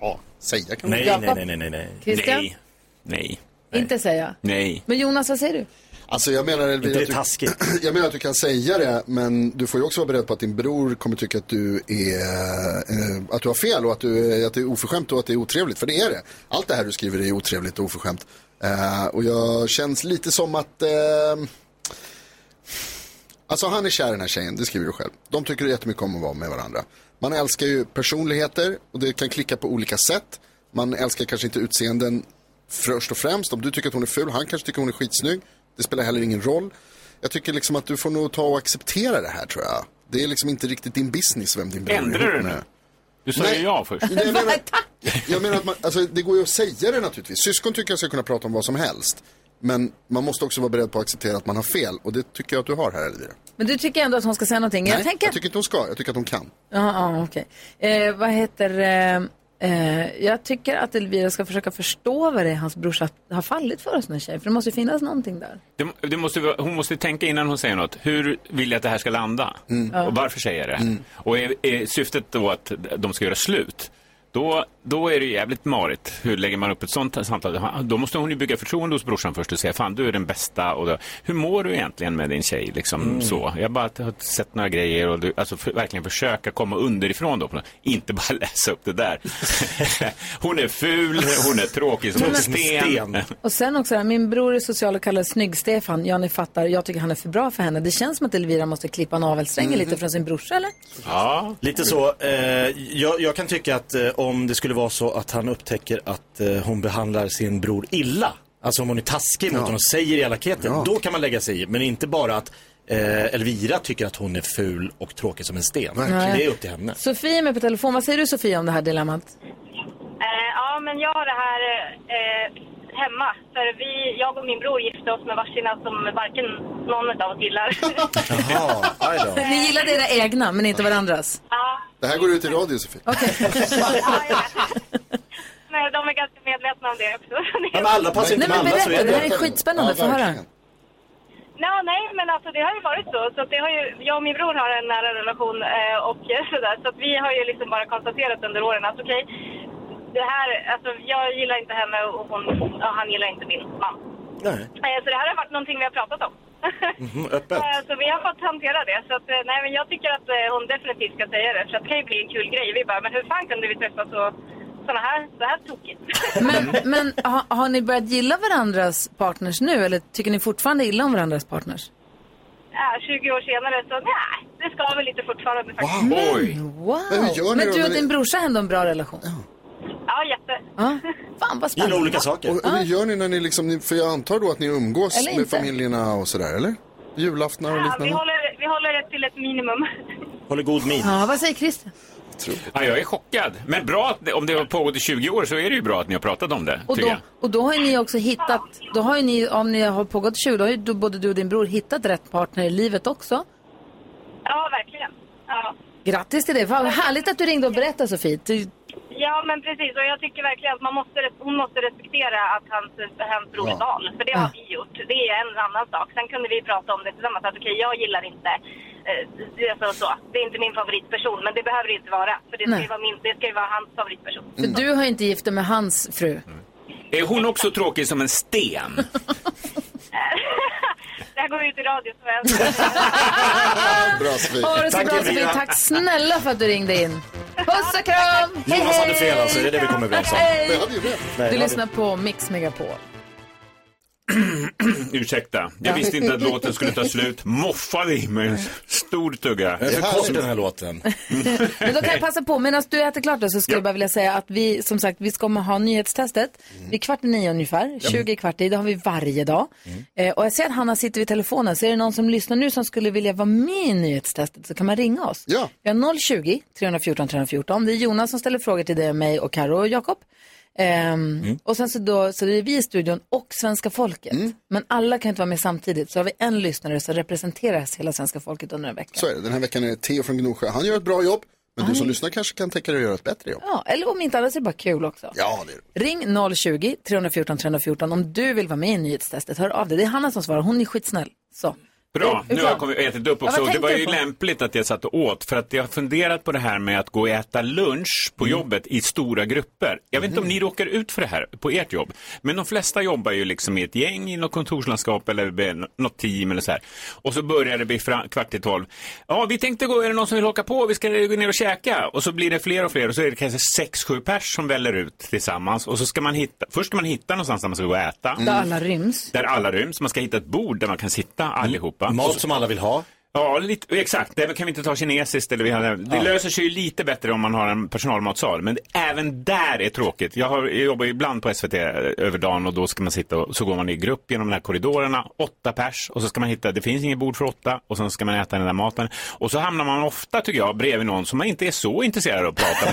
Ja, säga kan
Nej,
man.
nej, nej, nej, nej, nej. Christian? Nej.
Nej.
Inte säga.
Nej.
Men Jonas, vad säger du?
Alltså jag menar Elvira,
det
att du, (clears throat) jag menar att du kan säga det men du får ju också vara beredd på att din bror kommer tycka att du är eh, att du har fel och att, du, är- att det är oförskämt och att det är otrevligt. För det är det. Allt det här du skriver är otrevligt och oförskämt. Eh, och jag känns lite som att eh, Alltså han är kär i den här tjejen, det skriver du själv. De tycker jättemycket om att vara med varandra. Man älskar ju personligheter och det kan klicka på olika sätt. Man älskar kanske inte utseenden först och främst. Om du tycker att hon är ful, han kanske tycker hon är skitsnygg. Det spelar heller ingen roll. Jag tycker liksom att du får nog ta och acceptera det här tror jag. Det är liksom inte riktigt din business vem din bror är
Ändrar
ihop
du nu?
med.
Du sa ju
Nej.
ja först.
Nej, jag menar, jag menar att man, alltså, det går ju att säga det naturligtvis. Syskon tycker jag ska kunna prata om vad som helst. Men man måste också vara beredd på att acceptera att man har fel. Och det tycker jag att du har här Elvira.
Men du tycker ändå att hon ska säga någonting?
Nej,
jag tänker...
jag tycker inte hon ska. Jag tycker att hon kan.
Ja, ja, okej. Eh, vad heter... Eh, eh, jag tycker att Elvira ska försöka förstå vad det är hans brorsa har fallit för hos den här tjejen. För det måste ju finnas någonting där.
Det, det måste, vara- hon måste tänka innan hon säger något. Hur vill jag att det här ska landa?
Ja.
Och varför säger jag det? Och är, är syftet då att de ska göra slut? Då, då är det jävligt marigt. Hur lägger man upp ett sånt här samtal? Då måste hon ju bygga förtroende hos brorsan först och säga fan du är den bästa. Och då, hur mår du egentligen med din tjej? Liksom,
Mm.
så. Jag har bara har sett några grejer och du, alltså, för, verkligen försöka komma underifrån då. på något- Inte bara (laughs) läsa upp det där. hon är ful, hon är tråkig som en sten.
Och sen också, det här, min bror är social och kallas Snygg-Stefan. Ja, ni fattar, jag tycker han är för bra för henne. Det känns som att Elvira måste klippa navelsträngen
Mm.
Mhm.
lite från sin brorsa, eller?
Ja.
Lite så. Eh, jag, jag kan tycka att eh, om det skulle vara så att han upptäcker att eh, hon behandlar sin bror illa, alltså om hon är taskig mot
Ja.
honom och säger elakheter, då kan man lägga sig i. Men inte bara att eh, Elvira tycker att hon är ful och tråkig som en sten.
Verkligen.
Det är upp till henne.
Sofia är med på telefon. Vad säger du Sofia om det här dilemmat?
Eh, ja, men jag har det här eh, hemma. För vi, jag och min bror gifte oss med varsina som varken någon av oss gillar. (laughs)
Jaha, aj då.
Ni gillar era egna, men inte varandras.
Det här går ut i radio, Sofie.
Nej, de är ganska medvetna om det också. (laughs)
Ja, men alla passar inte
Nej, men
med alla, så
berätta,
är
det här
det.
är skitspännande. Få höra.
Nej, nej, men alltså det har ju varit så. så att det har ju, jag och min bror har en nära relation eh, och (laughs) sådär. Så att vi har ju liksom bara konstaterat under åren att okej, det här, alltså jag gillar inte henne och hon, ja, han gillar inte min man.
Nej.
Eh, så det här har varit någonting vi har pratat om.
Mhm, öppet.
Eh, så vi har fått hantera det. Så att, eh, nej, men jag tycker att eh, hon definitivt ska säga det. För att det kan ju bli en kul grej. Vi bara, men hur fan kunde vi träffas så, såna här, så här tokigt? (laughs) Mm.
Men, men har, har ni börjat gilla varandras partners nu, eller tycker ni fortfarande illa om varandras partners?
Ja, 20 år senare så nej, det ska väl lite fortfarande faktiskt.
Wow!
Men hur gör ni
Men
då
du
när
och
ni-
din brorsa har ändå en bra relation.
Ja, jätte.
Ja. Fan, vad spännande.
Och, och det gör ni när ni liksom, ni- för jag antar då att ni umgås
Eller
med
inte.
familjerna och sådär, eller? Julaftnar och
Ja, vi,
liknande?
håller, vi håller det till ett minimum. (laughs)
Håller god min.
Ja, vad säger Christer?
Ja, jag är chockad. Men bra att, om det har pågått i 20 år så är det ju bra att ni har pratat om det.
Och
tycker
då,
jag.
och då har ju ni också hittat, då har ju ni, om ni har pågått 20, då har ju du, både du och din bror hittat rätt partner i livet också.
Ja, verkligen. Ja.
Grattis till det. Vad härligt att du ringde och berättade, Sofie. Du,
ja, men precis. Och jag tycker verkligen att man måste, res- hon måste respektera att hans, hans brors
Ja.
val. För det har vi gjort. Det är en annan sak. Sen kunde vi prata om det tillsammans. Att okej, jag gillar inte eh, det är så, så. Det är inte min favoritperson, men det behöver det inte vara. För det ska, ju
Nej. Mm.
vara, min, det ska ju vara hans favoritperson.
för du har ju inte gift dig med hans fru.
Är hon också tråkig som en sten?
Det här går ut i radio,
(laughs)
så jag...
Bra, Sofie.
Ha det så bra, Sofie. Tack snälla för att du ringde in. Puss och kram! Hej,
Jonas hade
hej!
fel alltså, det är det vi kommer överens om.
Hej!
Jag hade ju rätt. Nej, jag
Du
hade-
lyssnar på Mix Megapol.
(clears throat) Ursäkta,
Ja.
jag visste inte att låten skulle ta slut. Moffade i mig en stor tugga.
Den är för kort, den här låten.
Men då kan jag passa på, medan du äter klart då, så skulle jag bara vilja säga att vi som sagt, vi ska ha nyhetstestet vid kvart i nio ungefär, 20 i kvart i, det har vi varje dag. Eh, och jag ser att Hanna sitter vid telefonen, så är det någon som lyssnar nu som skulle vilja vara med i nyhetstestet så kan man ringa oss.
Ja.
Vi har 020-314 314, det är Jonas som ställer frågor till dig och mig och Karo och Jakob. Ehm, Och sen så, då, så det är vi i studion och svenska folket. Men alla kan inte vara med samtidigt. Så har vi en lyssnare som representerar hela svenska folket under en vecka.
Så är det. Den här veckan är det Theo från Gnosjö. Han gör ett bra jobb, men du som lyssnar kanske kan tänka dig att göra ett bättre jobb.
Ja, eller om inte annars är det bara kul också.
Ja, det är
Ring 020 314 314 om du vill vara med i nyhetstestet. Hör av dig. Det är Hanna som svarar. Hon är skitsnäll. Så.
Bra, nu har jag kommit och ätit upp också.
Ja, vad
Och det var
tänkte
ju
du på?
lämpligt att jag satt och åt för att jag har funderat på det här med att gå och äta lunch på
Mm.
jobbet i stora grupper. Jag vet inte om ni råkar ut för det här på ert jobb, men de flesta jobbar ju liksom i ett gäng i något kontorslandskap eller med något team eller så här. Och så börjar det bli fram, kvart i tolv. Ja, vi tänkte gå, är det någon som vill haka på? Vi ska gå ner och käka. Och så blir det fler och fler och så är det kanske sex, sju pers som väller ut tillsammans. Och så ska man hitta, först ska man hitta någonstans där man ska gå och äta.
Där alla ryms. Mm.
Där alla ryms. Man ska hitta ett bord där man kan sitta allihopa.
Mat
Så-
som alla vill ha.
Ja, lite, exakt. Det kan vi inte ta kinesiskt. Eller vi har, det
Ja.
löser sig ju lite bättre om man har en personalmatsal. Men även där är tråkigt. Jag, har, jag jobbar ju ibland på SVT över dagen och då ska man sitta och så går man i grupp genom de här korridorerna. Åtta pers och så ska man hitta, det finns inget bord för åtta och sen ska man äta den där maten. Och så hamnar man ofta, tycker jag, bredvid någon som man inte är så intresserad av att prata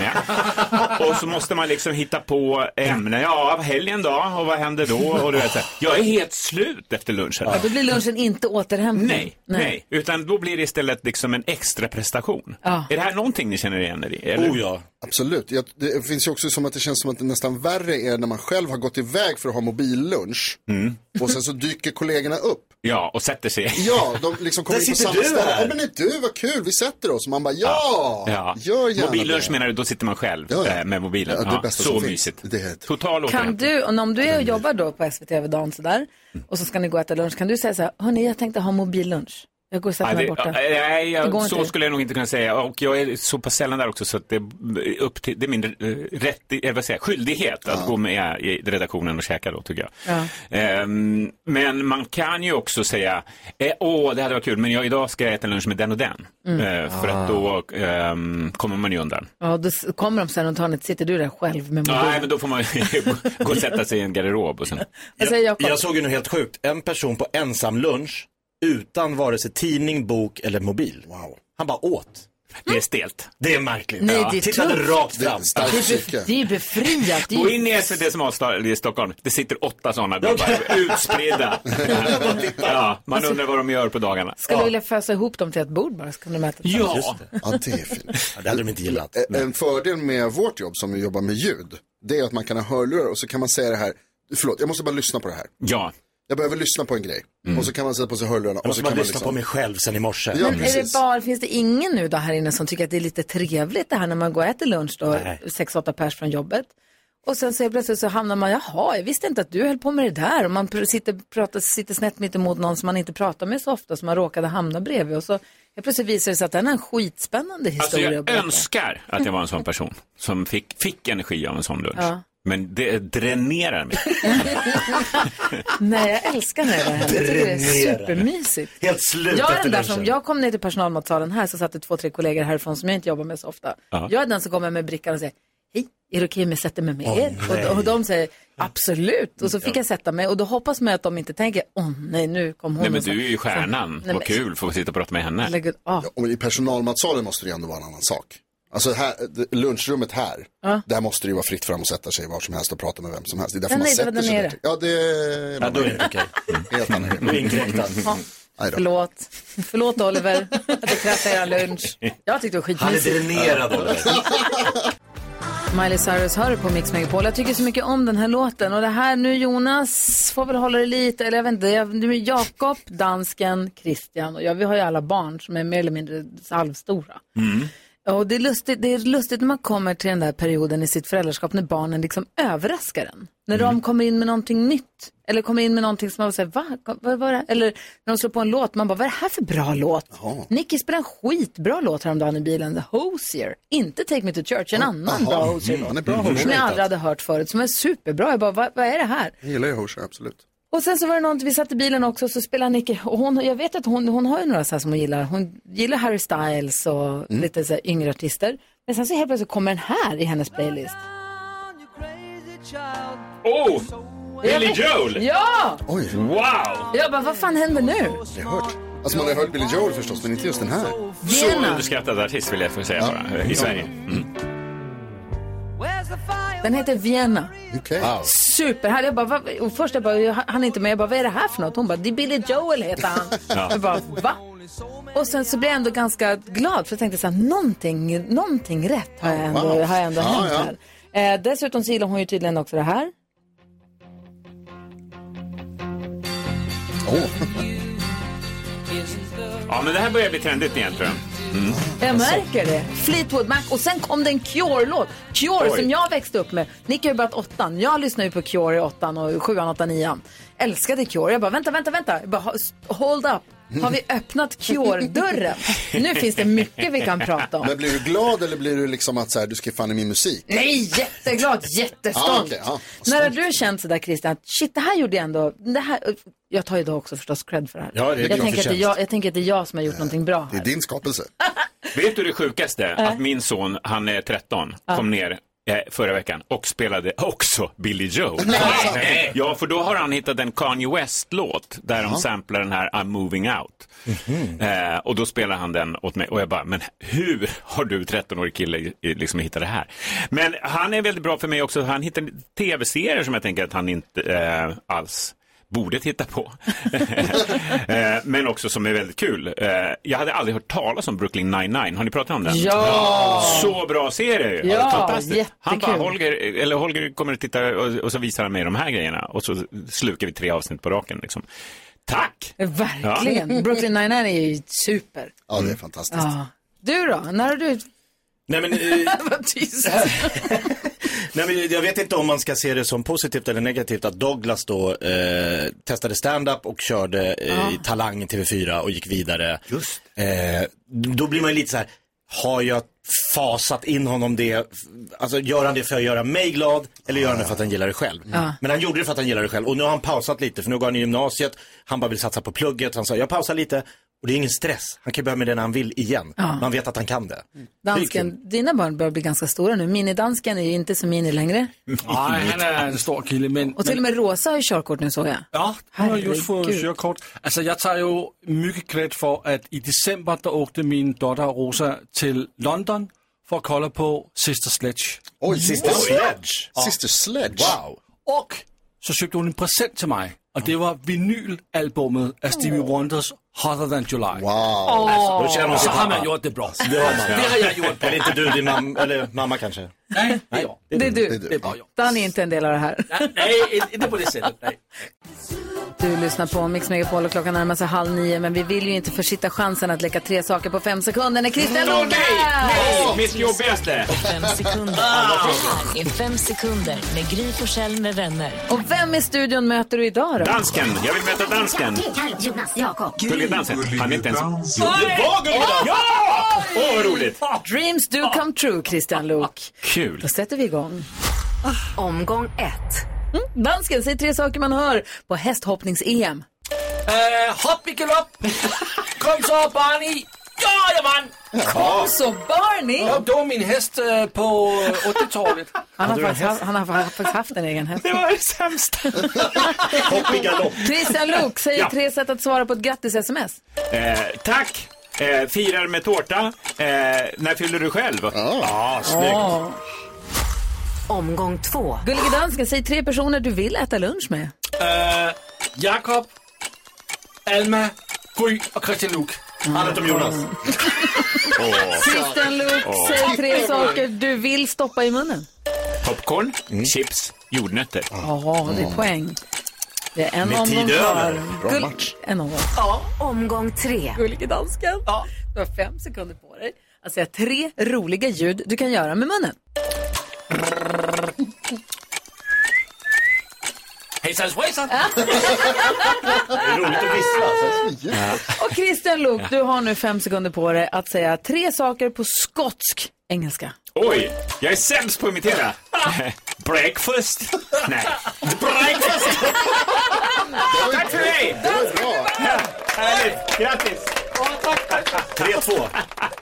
(laughs)
med. och så måste man liksom hitta på ämnen. Ja, helgen då? Och vad händer då? Och du vet, så här, jag är helt slut efter lunchen.
Ja, då blir lunchen inte återhämtning.
Nej, utan då då blir det istället liksom en extra prestation. Är det här någonting ni känner igen er i? Eller?
Oh, ja.
Absolut. Jag, det finns ju också som att det känns som att det nästan värre är när man själv har gått iväg för att ha mobillunch.
Mm.
Och sen så dyker kollegorna (laughs) upp.
Ja, och sätter sig.
Ja,
(laughs)
de liksom kommer in på samma ställe. Ja, men är du, Ah. vad kul, vi sätter oss. Och man bara, ja, gör gärna
Mobillunch
det.
menar du, då sitter man själv eh, med mobilen.
Ja, det är bästa
så
som finns.
mysigt. Total
Kan
återhämtning.
du, och om du är och jobbar då på SVT över dagen sådär,
Mm.
och så ska ni gå och äta lunch, kan du säga så här, hörni jag tänkte ha mobillunch. Jag går och sätter
Ja,
mig
det,
borta.
ja, eh, nej,
Det går
jag,
inte.
så skulle jag nog inte kunna säga. Och jag är så pass sällan där också så att det är, upp till, det är min eh, rätt, eh, vad säger, jag, skyldighet att gå med i redaktionen och käka då tycker jag.
Ja.
Ehm, men man kan ju också säga, eh, åh det hade varit kul men jag, idag ska jag äta lunch med den och den.
Mm.
Eh, för att då ehm, kommer man ju undan.
Ja, då s- kommer de sen runt hörnet, sitter du där själv med mobilen.
Nej men då får man ju gå och sätta sig i en garderob och sen.
(laughs) Vad säger
Jag, jag såg ju nu helt sjukt, en person på ensam lunch utan vare sig tidning, bok eller mobil. Han bara åt.
Det är stelt.
Det är märkligt.
Nej, det är
Tittade
tungt.
rakt fram.
Det är, bef- det är befriat. Det är
Gå
ju-
in i SVT som avstår i Stockholm. Det sitter åtta sådana gubbar
(laughs)
utspridda. ja, man
Alltså-
undrar vad de gör på dagarna.
Skulle vilja fösa ihop dem till ett bord bara, så kan de äta tillsammans.
Ja, det är fint.
det hade de inte gillat.
En, en fördel med vårt jobb som vi jobbar med ljud, det är att man kan ha hörlurar och så kan man säga det här, förlåt, jag måste bara lyssna på det här.
Ja.
Jag behöver lyssna på en grej. Och så kan man sätta på sig hörlurarna.
Jag
Och
måste
så kan
man
man liksom-
lyssna på mig själv sen i morse.
Ja,
Men är det bara, finns det ingen nu då här inne som tycker att det är lite trevligt det här när man går och äter lunch då,
Nej.
sex åtta pers från jobbet? Och sen så helt plötsligt så hamnar man, jaha, jag visste inte att du höll på med det där. Och man pr- sitter, pratar, sitter snett mitt emot någon som man inte pratar med så ofta, som man råkade hamna bredvid. Och så helt plötsligt visar det sig att den är en skitspännande
Alltså
historia.
jag önskar att jag var en sån person som fick, fick energi av en sån lunch.
Ja.
Men det dränerar mig.
Nej, jag älskar när det här händer. Jag tycker det är supermysigt.
Helt slut
Jag är
efter
den där som,
lunchen.
jag kom ner till personalmatsalen här så satt det två, tre kollegor härifrån som jag inte jobbar med så ofta.
Ja.
Jag är den som kommer med brickan och säger, hej, är det okej om jag sätter mig med
Åh,
er?
nej.
och, och de säger, absolut. Och så fick jag sätta mig och då hoppas man att de inte tänker, åh nej, nu kom hon.
Nej men
och så-
du är ju stjärnan.
Nej, men-
Vad kul att få sitta och prata med henne.
Lägg ut- ah.
Och I personalmatsalen måste det ändå vara en annan sak. Alltså här, det- lunchrummet här,
Ja.
där måste det ju vara fritt fram och sätta sig var som helst och prata med vem som helst. Det är därför
Ja,
man
nej, det var
sätter
där
sig.
nere.
där. Ja, det är... Mm.
Ja, då är det inte okej. Mm.
Helt annan grej.
Då är det inkräktad.
Ja.
Nej då.
Förlåt. Förlåt Oliver (laughs) att jag kraschade er lunch. Jag tyckte det var skitmysigt. (laughs) Miley Cyrus hör du på Mix Megapol. Jag tycker så mycket om den här låten. Och det här nu Jonas får väl hålla det lite, eller jag vet inte. Jag- nu är Jakob, dansken, Christian och jag. Vi har ju alla barn som är mer eller mindre halvstora.
Mm.
Och det är, lustigt, det är lustigt när man kommer till den där perioden i sitt föräldraskap när barnen liksom överraskar en. När de kommer in med någonting nytt. Eller kommer in med någonting som man säger, va? Vad var det? Eller när de slår på en låt, man bara, vad är det här för bra låt? Nicky spelade en skitbra låt häromdagen i bilen, The Hosier. Inte Take Me To Church, en annan
Jaha.
bra Hosier.
Mm, han är bra
Som jag
Hosier.
aldrig hade hört förut, som är superbra. Jag bara, vad, vad är det här?
Jag gillar ju Horsha, absolut.
Och sen så var det någon, vi satt i bilen också, så spelade Nicky, och hon, jag vet att hon, hon har ju några så här som hon gillar. Hon gillar Harry Styles
Mm.
och lite så här yngre artister. Men sen så helt plötsligt kommer den här i hennes playlist.
Oh! Billy
Jag vet-
Joel!
Ja!
Oj.
Wow!
Jag bara, vad fan händer nu?
Det har jag hört. Alltså man har ju hört Billy Joel förstås, men inte just den här.
Så underskattad artist vill jag få säga bara, i Sverige. Mm.
Den heter Vienna.
Okej.
Superhärlig. Jag bara, vad, och först jag bara, jag hann inte med. Jag bara, vad är det här för något? Hon bara, det är Billy Joel heter han.
Ja.
Jag bara, va? Och sen så blev jag ändå ganska glad för jag tänkte så här, någonting, någonting rätt har jag ändå,
Wow.
har jag ändå
Ja,
hänt
ja.
här. Eh, dessutom så gillar hon ju tydligen också det här.
Ja, men det här börjar bli trendigt igen tror jag. Mm.
Jag märker det. Alltså- Fleetwood Mac. Och sen kom det en Cure-låt. Cure
Oj.
som jag växte upp med. Nick har ju börjat åttan. Jag lyssnar ju på Cure i åttan och sjuan, åttan, nian. Älskade Cure. Jag bara, vänta, vänta, vänta. Jag bara, "Ha- hold up. Har vi öppnat Cure-dörren? Nu finns det mycket vi kan prata om.
Men blir du glad eller blir du liksom att så här, du ska fan i min musik?
Nej, jätteglad, jättestolt.
Ja, Ah, okej, ja.
När har du känt sådär Christian, att shit det här gjorde jag ändå, det här, jag tar ju då också förstås cred för det här.
Ja, det är
jag,
din
tänker att det är
förtjänst.
jag, jag tänker att det är jag som har gjort någonting bra.
Det är din skapelse.
(laughs) Vet du det sjukaste?
Äh.
Att min son, han är 13,
Ja.
kom ner eh, förra veckan och spelade också Billy Joel. Nej. Ja, för då har han hittat en Kanye West-låt där de
Ja.
samplar den här I'm moving out.
Mm.
Eh, och då spelar han den åt mig och jag bara, men hur har du 13-årig kille i- i- liksom hittat det här? Men han är väldigt bra för mig också, han hittar tv-serier som jag tänker att han inte eh, alls borde titta på. (laughs) Eh, Men också som är väldigt kul. Eh, Jag hade aldrig hört talas om Brooklyn 99. Har ni pratat om den?
Ja!
Så bra serie ju.
Ja,
Fantastiskt. Han bara,
jättekul.
Holger, eller Holger kommer att titta och, och så visar han mig de här grejerna. Och så slukar vi tre avsnitt på raken. Liksom. Tack!
Verkligen.
Ja.
Brooklyn Nine-Nine är ju super.
Ja, det är fantastiskt.
Ja. Du då? När har du...
Nej, men, eh,
(laughs) Vad tyst.
Nej, men jag vet inte om man ska se det som positivt eller negativt att Douglas då eh, testade stand-up och körde eh,
Ja.
i Talang i TV4 och gick vidare. Just. Eh, då blir man ju lite så här, har jag fasat in honom det, alltså gör han det för att göra mig glad eller gör han det för att han gillar det själv?
Ja.
Men han gjorde det för att han gillade det själv och nu har han pausat lite för nu går han i gymnasiet, han bara vill satsa på plugget, han sa jag pausar lite och det är ingen stress, han kan börja med det när han vill igen.
Ja. Mm.
Man vet att han kan det.
Dansken, dina barn börjar bli ganska stora nu. Minidansken är ju inte så mini längre.
Nej, han är en stor kille, men...
Och till och
men-
med Rosa har ju körkort nu såg jag.
Ja, han har just fået
Herregud.
körkort. Altså, jeg tager jo mycket kredit for, at i december, der åkte min dotter Rosa til London for at kolde på Sister Sledge.
Oj, Sister Sledge? Sister Sledge?
Wow. Og så købte hun en present til mig, og det var vinylalbummet af Stevie Wonders Hotter Than July. Wow.
Åh. Då känner hon sig
så har man
pappa.
gjort det bra.
Alltså, Det har man.
Det har jag gjort bra.
Är det inte du, din mamma, eller mamma kanske?
Nej, det är jag.
Det är du.
Det är bara jag.
Dan är inte en del av det här.
Nej, inte på det sättet. Nej.
Du lyssnar på Mix Megapol och klockan närmar sig halv nio men vi vill ju inte försitta chansen att leka tre saker på fem sekunder när Christian
Åh,
Nordberg!
nej!
Mitt jobbigaste! Ah.
Fem sekunder. Det här är Fem sekunder med Gry Forssell med vänner.
Och vem i studion möter du idag då?
Dansken! Jag vill möta dansken.
Jonas, Jakob.
Gullige dansken. Han är inte ens...
Oj!
Det var Gullige dansken! Ja!
Oj!
Åh, vad roligt!
Dreams do come true, Christian Luuk.
Ah. Kul.
Då sätter vi igång.
Ah.
Omgång ett. Mm, dansken, säg tre saker man hör på hästhoppnings-EM.
Øh, hop i galop. Kom så, Barney. Ja, jeg vandt.
Kom så, Barney.
Ja, det var min hest øh, på 8-torvet.
Han har, faktiskt, haft- han har faktiskt haft en egen häst.
Det var det sämsta.
(laughs) Hopp i galopp.
Christian Luuk, säg
Ja.
tre sätt att svara på ett grattis-sms.
Eh, tack! Eh, firar med tårta. Eh, när fyller du själv? Ja, snyggt.
Åh. Omgång två. Gullige dansken, säg tre personer du vill äta lunch med.
Øh, Jakob, Alma, Gry og Christian Luke. Han er Jonas.
Christian Luuk,
Åh.
säg tre saker du vill stoppa i munnen.
Popcorn,
Mm.
chips, jordnötter.
Ja, det är poäng. Det är en
Mm. Med
omgång
tid
kvar.
över. Bra
Gull-
match.
En omgång.
Ja. Omgång tre.
Gullige dansken. Du har fem sekunder på dig att säga tre roliga ljud du kan göra med munnen.
Hejsan svejsan.
roligt att vissla.
Och Christian Luuk, du har nu fem sekunder på dig att säga tre saker på skotsk engelska.
Oj, jag är sämst på att imitera. Breakfast. Nej.
(laughs)
Breakfast. Tack för mig! Ja, Härligt, grattis! 3-2.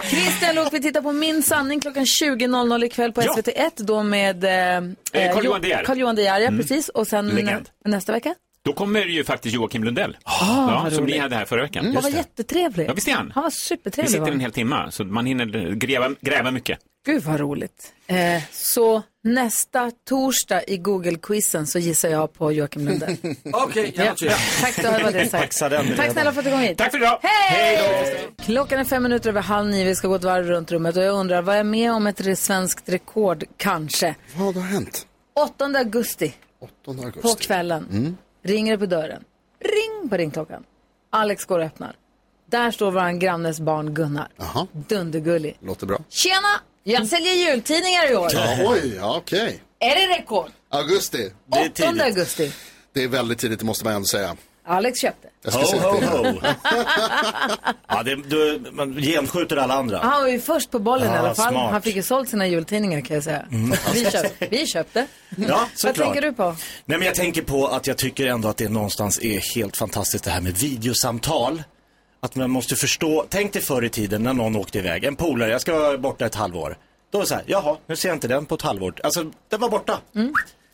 Christian Luuk, vi tittar på Min sanning klockan 20.00 ikväll på
Ja.
SVT1 då med eh,
Carl
Jo-
Johan De Geer.
Carl Johan De Geer, ja,
Mm.
precis. Och sen
Legend.
nä- nästa vecka?
Då kommer ju faktiskt Joakim Lundell.
Ah, vad
ja, som
roligt.
ni hade här förra veckan.
Han var jättetrevlig.
Ja, visst är han.
Han var
Vi
supertrevlig. var
sitter
han.
en hel timme, så man hinner gräva, gräva mycket.
Gud vad roligt. Eh, så nästa torsdag i Google-quizen så gissar jag på
(laughs)
Joakim Lundell.
Okej, jag noterar.
Tack, då var det sagt.
Paxa den
Tack snälla för att du kom hit.
Tack för idag.
Hej! Klockan är fem minuter över halv nio. Vi ska gå ett varv runt rummet och jag undrar, vad är med om ett re- svenskt rekord kanske?
Vad har hänt?
8 augusti
8 augusti.
på kvällen
Mm.
ringer det på dörren. Ring på ringklockan. Alex går och öppnar. Där står våran grannes barn Gunnar. Dundergullig.
Låter bra.
Tjena! Jag säljer jultidningar i år.
Ja, oj, ja, okej.
Är det rekord?
Augusti.
8 augusti.
Det är väldigt tidigt, det måste man ändå säga.
Alex köpte.
Jag ska
Ho,
säga
ho,
det.
ho. (laughs) Ja, det, du, man genskjuter alla andra.
Han var ju först på bollen i
Ah,
alla fall.
smart. Mm.
Han fick ju sålt sina jultidningar kan jag säga. (laughs) Vi, köpte. Vi köpte.
Ja,
Vad
såklart.
tänker du på?
Nej, men jag tänker på att jag tycker ändå att det någonstans är helt fantastiskt det här med videosamtal. Att man måste förstå, tänk dig förr i tiden när någon åkte iväg, en polare, jag ska vara borta ett halvår. Då var det så här, jaha, nu ser jag inte den på ett halvår. Alltså, den var borta.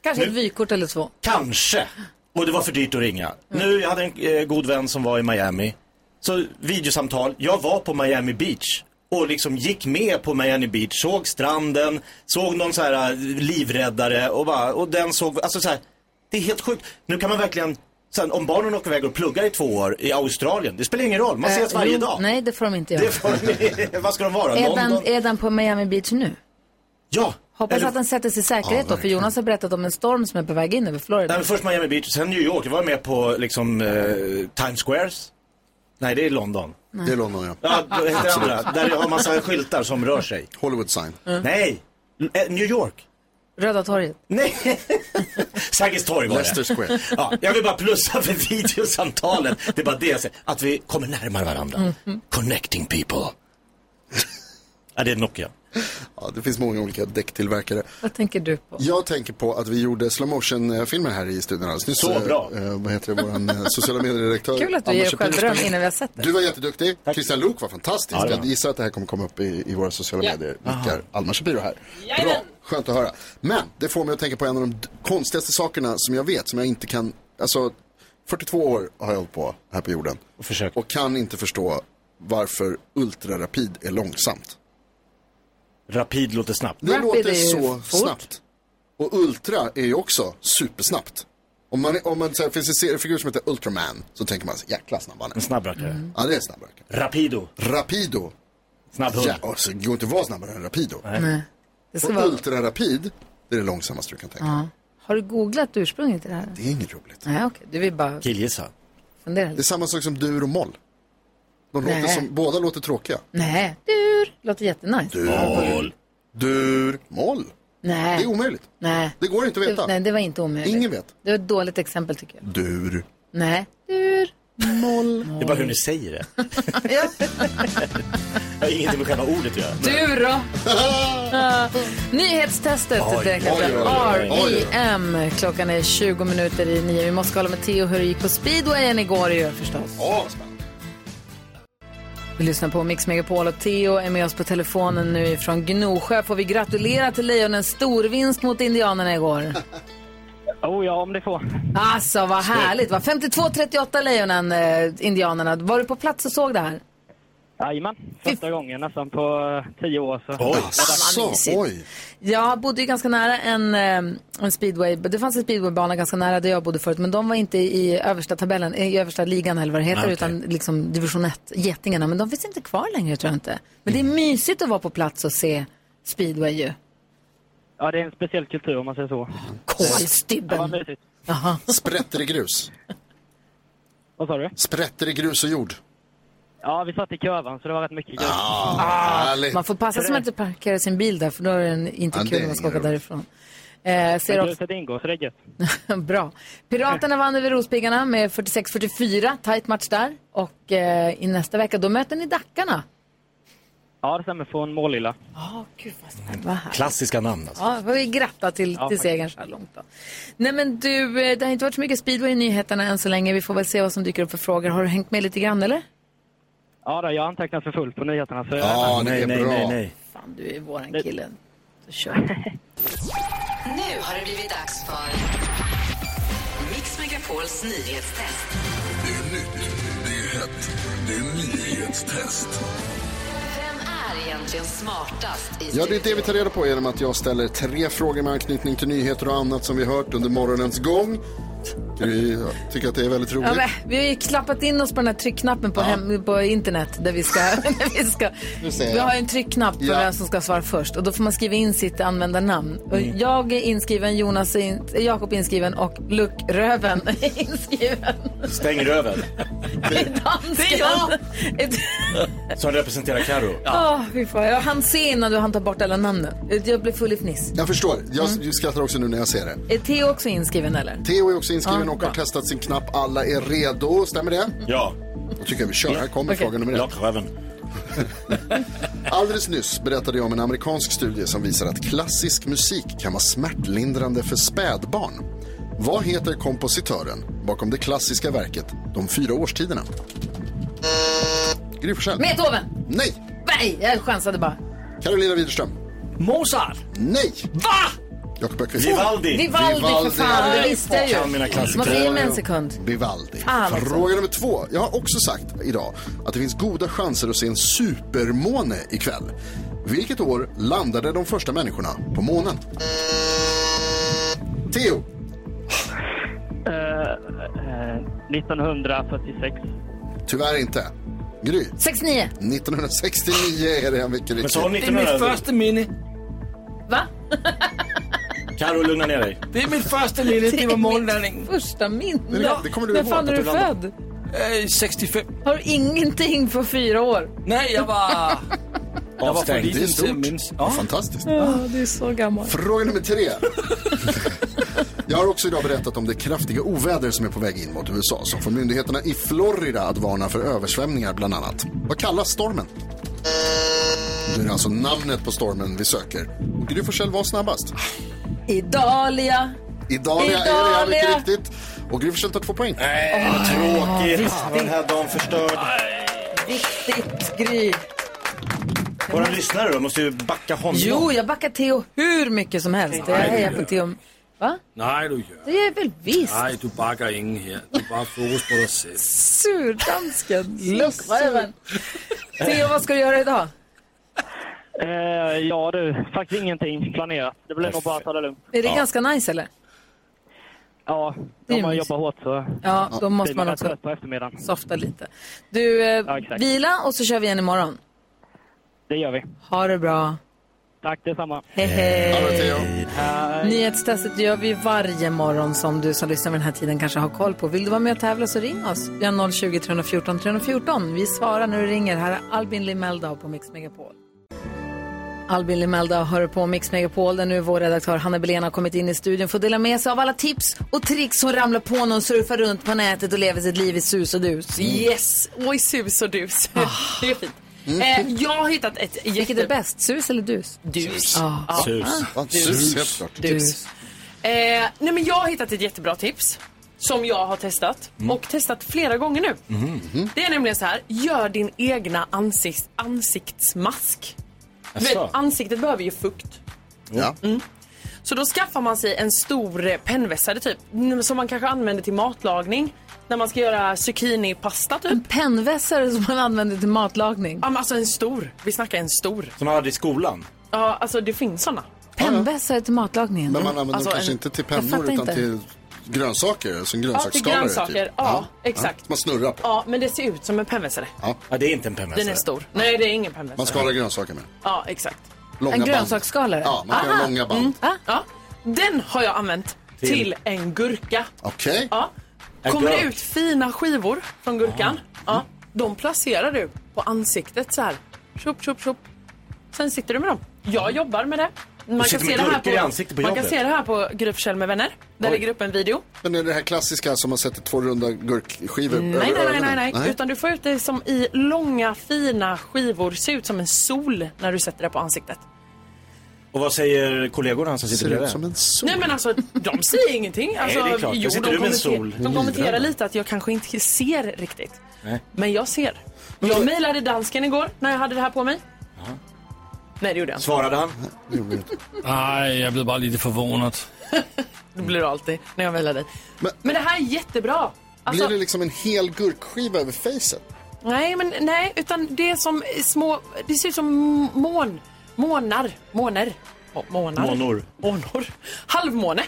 Kanske ett
Nu-
vykort eller två.
Kanske. Och det var för dyrt att ringa.
Mm.
Nu, jag hade en eh, god vän som var i Miami. Så videosamtal. Jag var på Miami Beach. Och liksom gick med på Miami Beach. Såg stranden. Såg någon så här eh, livräddare. Och, bara, och den såg, alltså så här. Det är helt sjukt. Nu kan man verkligen Sen om barnen åker iväg och pluggar i två år i Australien, det spelar ingen roll, man ses
Eh,
varje
jo,
dag.
Nej, det får de inte göra.
Det får, (laughs) vad ska de vara?
Är den,
London?
är den på Miami Beach nu?
Ja!
Hoppas
Eller-
att den sätter sig i
Ja,
säkerhet då, för
verkligen.
Jonas har berättat om en storm som är på väg in över Florida.
Nej, men först Miami Beach, sen New York. Jag var med på liksom eh, Times Squares. Nej, det är London.
Nej. Det är
London, ja.
Ja, vad heter det
Absolut.
andra? Där det har massa skyltar som rör sig.
Hollywood sign.
Mm.
Nej! Eh, New York.
Röda torget.
Nej. Sergels torg var det.
Leicester Square.
Ja, jag vill bara plussa för videosamtalen. Det är bara det jag säger. Att vi kommer närmare varandra.
Mm. Mhm.
Connecting people. ja, det är Nokia.
Ja, det finns många olika däcktillverkare.
Vad tänker du på?
Jag tänker på att vi gjorde slow motion filmen här i studion alldeles nyss.
Så bra.
Eh, vad heter det, våran eh, sociala mediedirektör.
Kul att du
Anna
ger dig
Shapiro
själv beröm
sprang in.
innan vi har sett det.
Du var jätteduktig. Christian Luuk var fantastisk.
Ja, det var
jag gissar att det här kommer komma upp i, i våra sociala
Ja.
medier.
Aha.
Nickar Alma Shapiro här. Bra, skönt att höra. Men det får mig att tänka på en av de d- konstigaste sakerna som jag vet, som jag inte kan, alltså 42 år har jag hållit på här på jorden.
Och, försökt.
och kan inte förstå varför ultrarapid är långsamt.
Rapid låter snabbt.
Det
Rapid
låter
är ju
så
fort.
snabbt. Och ultra är ju också supersnabbt. Om man, om man så här, finns en seriefigur som heter Ultraman så tänker man så jäkla snabb han är.
En snabb rackare.
Ja, det är en snabb rackare.
Rapido.
Rapido.
Snabb
Ja, alltså, det går inte att vara snabbare än Rapido.
Nej. Det ska
och
vara-
ultrarapid, det är det långsammaste du kan tänka
Ja. Har du googlat ursprunget till det här?
Det är inget roligt.
Nej, okej. Du vill bara
Killgissa.
fundera
Det är
lite.
samma sak som dur och moll. De låter
Nej.
som, båda låter tråkiga.
Nej, dur. Låter jättenice.
Dur, moll. Dur, moll.
Nej.
Det är omöjligt.
Nej.
Det går inte att veta.
Det, nej, det var inte omöjligt.
Ingen vet.
Det var ett dåligt exempel tycker jag.
Dur.
Nej. Dur. Moll.
Det är bara hur ni säger det. Det har ingenting med själva ordet att göra.
Du då? (laughs) Nyhetstestet
Oj,
direkt
oj,
efter
oj, oj, oj.
R.I.M. E Klockan är 20 minuter i nio. Vi måste kolla med Theo hur det gick på speedwayen igår ju förstås. Vi lyssnar på Mix Megapol och Theo är med oss på telefonen nu från Gnosjö. Får vi gratulera till Lejonens storvinst mot Indianerna igår?
(laughs)
Oh ja, om det får.
Alltså vad härligt. va? 52-38 Lejonen, eh, Indianerna. Var du på plats och såg det här?
Jajamän, första gången nästan på eh, tio år. Så.
Oj, alltså, oj. Jag bodde ju ganska nära en, eh, en speedway. Det fanns en speedwaybana ganska nära där jag bodde förut. Men de var inte i översta tabellen, i översta ligan eller vad det heter.
Nej, okej.
Utan liksom division 1, Getingarna. Men de finns inte kvar längre tror jag inte. Men det är mysigt att vara på plats och se speedway ju.
Ja, det är en speciell kultur om man säger så.
Kolstybben.
Ja, vad mysigt.
Sprätter i grus.
Vad sa du?
Sprätter i grus och jord.
Ja, vi satt i kurvan så det var rätt mycket grej.
Ah,
Härligt.
Ah, Man får passa typ, sig man inte parkerar sin bil där. För då är den inte
Ja, det
kul
är
om man ska åka
ingen
därifrån. Eh, ser
Men
också...
gruset ingår så det är gött.
(laughs) Bra. Piraterna vann över Rospiggarna med 46-44. Tight match där. Och eh, i nästa vecka, då möter ni Dackarna.
Ja, det stämmer. Från Målilla.
Ja, Ah, gud vad härligt.
Klassiska namn alltså.
Ja, får vi gratta till,
Ja,
till
faktiskt.
segern så här långt då. Nej men du, eh, det har inte varit så mycket speedway i nyheterna än så länge. Vi får väl se vad som dyker upp för frågor. Har du hängt med lite grann eller?
Ja, då, jag har antecknat för fullt på nyheterna. Så
Ja, nej, nej, nej, nej.
Fan, du är våran kille. Så kör
Nu har det blivit dags för Mix Megapols nyhetstest.
Det är nytt, det är hett, det är nyhetstest.
Vem är egentligen smartast i
Ja, det är det vi tar reda på genom att jag ställer tre frågor med anknytning till nyheter och annat som vi hört under morgonens gång. Gry jag tycker att det är väldigt roligt.
Ja, men, vi har ju klappat in oss på den här tryckknappen på, hem, på internet där vi ska... (laughs) Där vi, ska
Nu ser jag.
vi har ju en tryckknapp för
Ja.
vem som ska svara först och då får man skriva in sitt användarnamn. Och
Mm.
Jag är inskriven, Jonas är in, Jakob är inskriven och Luckröven är (laughs) inskriven.
Stäng röven.
Det är jag!
Som representerar Karo.
fy fan. Jag hann se innan du hann ta bort alla namnen. Jag blev full i fniss.
Jag förstår. Jag skrattar också nu när jag ser det.
Är Theo också inskriven eller?
Theo är också inskriven
Ja,
och
bra.
har testat sin knapp. Alla är redo, stämmer det?
Ja.
Då tycker jag vi kör. Här kommer
Okej.
fråga nummer ett.
Lockröven.
(laughs) Alldeles nyss berättade jag om en amerikansk studie som visar att klassisk musik kan vara smärtlindrande för spädbarn. Vad heter kompositören bakom det klassiska verket De fyra årstiderna? Gry Forssell.
Beethoven!
Nej!
Nej, jag chansade bara.
Carolina Widerström.
Mozart.
Nej.
Va?
Jakob Öqvist.
Vivaldi. Vivaldi, för fan, det
Nej,
visste jag ju.
fan, mina klassiker.
Man får ge mig en sekund.
Vivaldi.
Fan alltså. också.
Fråga nummer två. Jag har också sagt idag att det finns goda chanser att se en supermåne ikväll. Vilket år landade de första människorna på månen? Theo.
Eh, Eh, 1946.
Tyvärr inte. Gry.
69.
1969 är det Henrik
Men
riktigt.
sa hon 1900?
minne.
Carro, lugna ner dig.
Det är mitt första minne, det var morgonlandning.
Första minne.
Ja, det kommer du
När
ihåg
fan är
att
du
du landade.
född?
Eh, 65.
Har du ingenting på fyra år?
Nej, jag
(laughs)
var... Jag var för
Avstängd. Det är
liten till
stort.
att minnas.
Ja. Fantastiskt.
Ja, du är så gammal.
Fråga nummer tre. Jag har också idag berättat om det kraftiga oväder som är på väg in mot USA som får myndigheterna i Florida att varna för översvämningar bland annat. Vad kallas stormen? Det är alltså namnet på stormen vi söker. Och Gry Forssell var snabbast.
Idalia.
Idalia är det
Idalia.
helt riktigt. Och Gry Forssell tar två poäng.
Nej, vad tråkigt. Fan, vad den här dagen förstörd.
Viktigt, Gry.
Våra lyssnare då, måste ju backa honom.
Jo, jag backar Theo hur mycket som helst. Jag
Nej.
hejar på Theo. Va?
Nej, du gör.
Det är väl visst.
Nej, du backar ingen här. Du bara fokus på dig själv.
Surdansken. Lussräven. Theo, vad ska du göra idag?
Eh, ja du, faktiskt ingenting planerat. Det blir nog bara att ta det lugnt.
Är det ganska nice eller?
Ja,
Det är
om man
mysigt.
jobbar hårt så...
Ja, då måste
blir
man
rätt
också-
trött på eftermiddagen.
Softa lite. Du, eh,
Ja, exakt.
vila och så kör vi igen imorgon.
Det gör vi.
Ha det bra.
Tack detsamma.
Hej, hej. Ha det,
Theo.
Nyhetstestet gör vi varje morgon som du som lyssnar vid den här tiden kanske har koll på. Vill du vara med och tävla så ring oss. Vi har 020 314 314. Vi svarar när du ringer. Här är Albin Limeldau på Mix Megapol. Albin Limeldau hör på Mix Megapol där nu vår redaktör Hanna Belén har kommit in i studion för att dela med sig av alla tips och tricks hon ramlar på när hon surfar runt på nätet och lever sitt liv i sus och dus.
Mm. Yes, oj sus och dus. (laughs) Det är fint. Eh, jag har hittat ett jätte...
Ah. Vilket är bäst, sus eller dus?
Dus.
Ah.
Ja.
Ah.
Dus. Dus. Eh, nej men jag har hittat ett jättebra tips som jag har testat och testat flera gånger nu. Det är nämligen så här, gör din egna ansikts, ansiktsmask. Du vet,
Asså.
ansiktet behöver ju fukt.
Ja.
Mm. Så då skaffar man sig en stor eh, pennvässare typ, n- som man kanske använder till matlagning. När man ska göra zucchini-pasta typ. En
pennvässare som man använder till matlagning?
Ja men alltså en stor. Vi snackar en stor.
Som man hade i skolan.
Ja, alltså det finns såna.
Pennvässare till matlagningen.
Men man använder
Alltså,
dem
en-
kanske inte till
Jag fattar
pennor utan
inte.
till grönsaker. Alltså en grönsaksskalare.
grönsaker.
Typ.
Ja, exakt.
Ja, Man snurrar på.
Ja, men det ser ut som en pennvässare.
Ja.
det är inte en
Den är stor. Nej, det är ingen pennvässare.
Man skalar grönsaker med.
Ja, exakt.
Långa
En
band.
grönsaksskala?
Ja, man kan
Aha.
göra långa band.
Mm.
Ah.
Ja. Den har jag använt till,
Till?
en gurka.
Okej.
Ja.
En
Kommer det
gurk.
ut fina skivor från gurkan, ja, de placerar du på ansiktet så här. Tjopp, tjopp, tjopp. Sen sitter du med dem. Jag jobbar med det. Man,
sitter
kan se
med
det, här
gurkor i
på,
ansiktet på
man kan
jobbet.
se det här på Gry Forssell med vänner. Där
Oj.
ligger upp en video.
Men är det här klassiska som man sätter två runda gurkskivor
Mm. Nej,
över
nej, nej,
öronen?
nej, nej, Utan du får ut det som i långa fina skivor. Ser ut som en sol när du sätter det på ansiktet.
Och vad säger kollegorna som sitter
Ser ut
bredvid?
som en
Nej men alltså, de säger ingenting. Alltså,
Nej, det är klart.
Jo,
Där sitter
de
du med en
kommenter-
sol.
De kommenterar
Livrädd.
lite att jag kanske inte ser riktigt.
Nej.
Men jag ser. Jag mejlade dansken igår när jag hade det här på mig. Nej, det gjorde jag inte.
Svarade han?
Nej, jag blev bara lite förvånad.
Det blir du alltid när jag mejlar dig.
Men,
det här är jättebra. Alltså,
Blir det liksom en hel gurkskiva över facet?
Nej, men nej, utan det är som små, det ser ut som mån, månar, måner. Må- Månar.
Månor.
Månor. Halvmåne.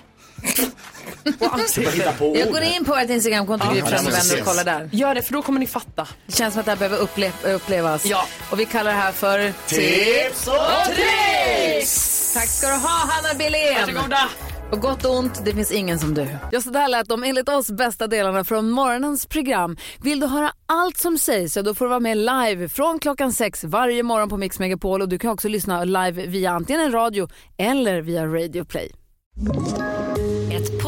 På ansiktet.
alltså. Jag går in på vårt Instagramkonto, Gry Forssell med vänner och kollar där.
Gör det, för då kommer ni fatta.
Det känns som att det här behöver upple- upplevas. Ja. Och vi kallar det här för...
Tips och tricks!
Tack ska du ha, Hanna Billén!
Varsågoda!
Och gott och ont, det finns ingen som du. Ja, så där lät de enligt oss bästa delarna från morgonens program. Vill du höra allt som sägs, så då får du vara med live från klockan sex varje morgon på Mix Megapol. Och du kan också lyssna live via antingen radio eller via Radio Play.
Ett